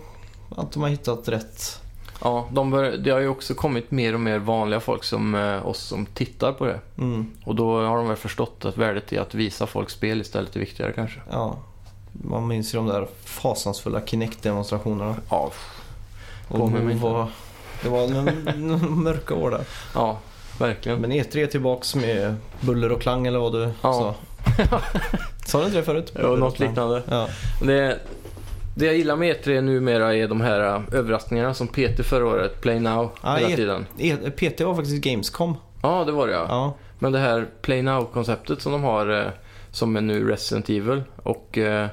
att de har hittat rätt.
Ja, de bör, det har ju också kommit mer och mer vanliga folk som eh, oss som tittar på det.
Mm,
Och då har de väl förstått att värdet i att visa folk spel istället är viktigare kanske.
ja. Man minns ju de där fasansfulla Kinect-demonstrationerna.
Ja,
Och
Påminner mig
det
inte.
var, det var n- n- mörka år där.
ja verkligen.
Men E3 är tillbaks med buller och klang eller vad du
Ja.
sa. Sa du inte det förut?
Jo, något liknande.
Ja.
Det, det jag gillar med E3 numera är de här eh, överraskningarna som PT förra året, Play Now,
Ja,
hela
E-
tiden.
E- PT var faktiskt Gamescom.
Ja, det var det ja.
Ja.
Men det här Play Now-konceptet som de har eh, som är nu Resident Evil och eh,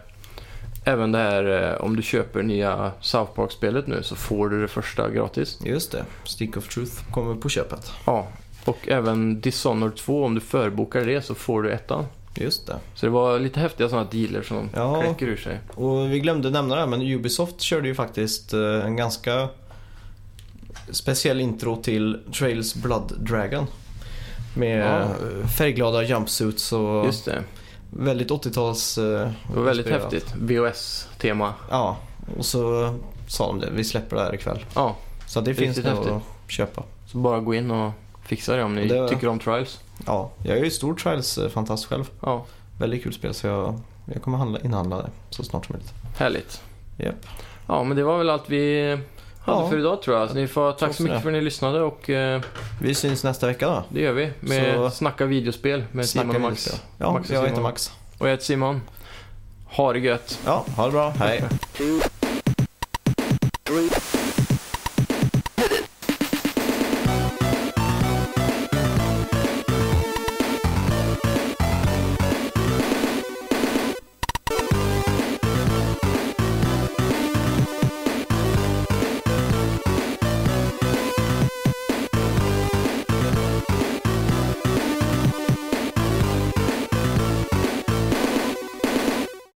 även det här eh, om du köper nya South Park-spelet nu så får du det första gratis.
Just det. Stick of Truth kommer på köpet.
Ja, och även Dishonored 2 om du förbokar det så får du ettan.
Just det.
Så det var lite häftiga sådana dealer som de
Ja.
kläcker ur sig.
Och vi glömde nämna det här men Ubisoft körde ju faktiskt eh, en ganska speciell intro till Trails Blood Dragon. Med
Ja.
eh, färgglada jumpsuits och
Just det,
väldigt 80-tals... eh,
det var väldigt
inspirerat.
häftigt. VHS-tema.
Ja, och så sa de det. Vi släpper det här ikväll.
Ja,
Så det
Riktigt
finns det
häftigt.
att köpa.
så bara gå in och fixa det om ni
Det-
tycker om Trials.
Ja, jag är ju stor Trials-fantast själv.
Ja,
Väldigt kul spel så jag, jag kommer handla, inhandla det så snart som möjligt.
härligt.
Japp.
Ja, men det var väl allt vi hade
Ja.
för idag tror jag. Så ni får,
tror
tack så mycket
det.
för att ni lyssnade och eh,
Vi syns nästa vecka då.
det gör vi med
Så-
Snacka videospel med Simon och
vi
Max.
lite. Ja,
Max och
jag heter
Simon.
Max.
Och jag heter Simon. Ha det gött.
Ja, ha det bra. Hej.
two,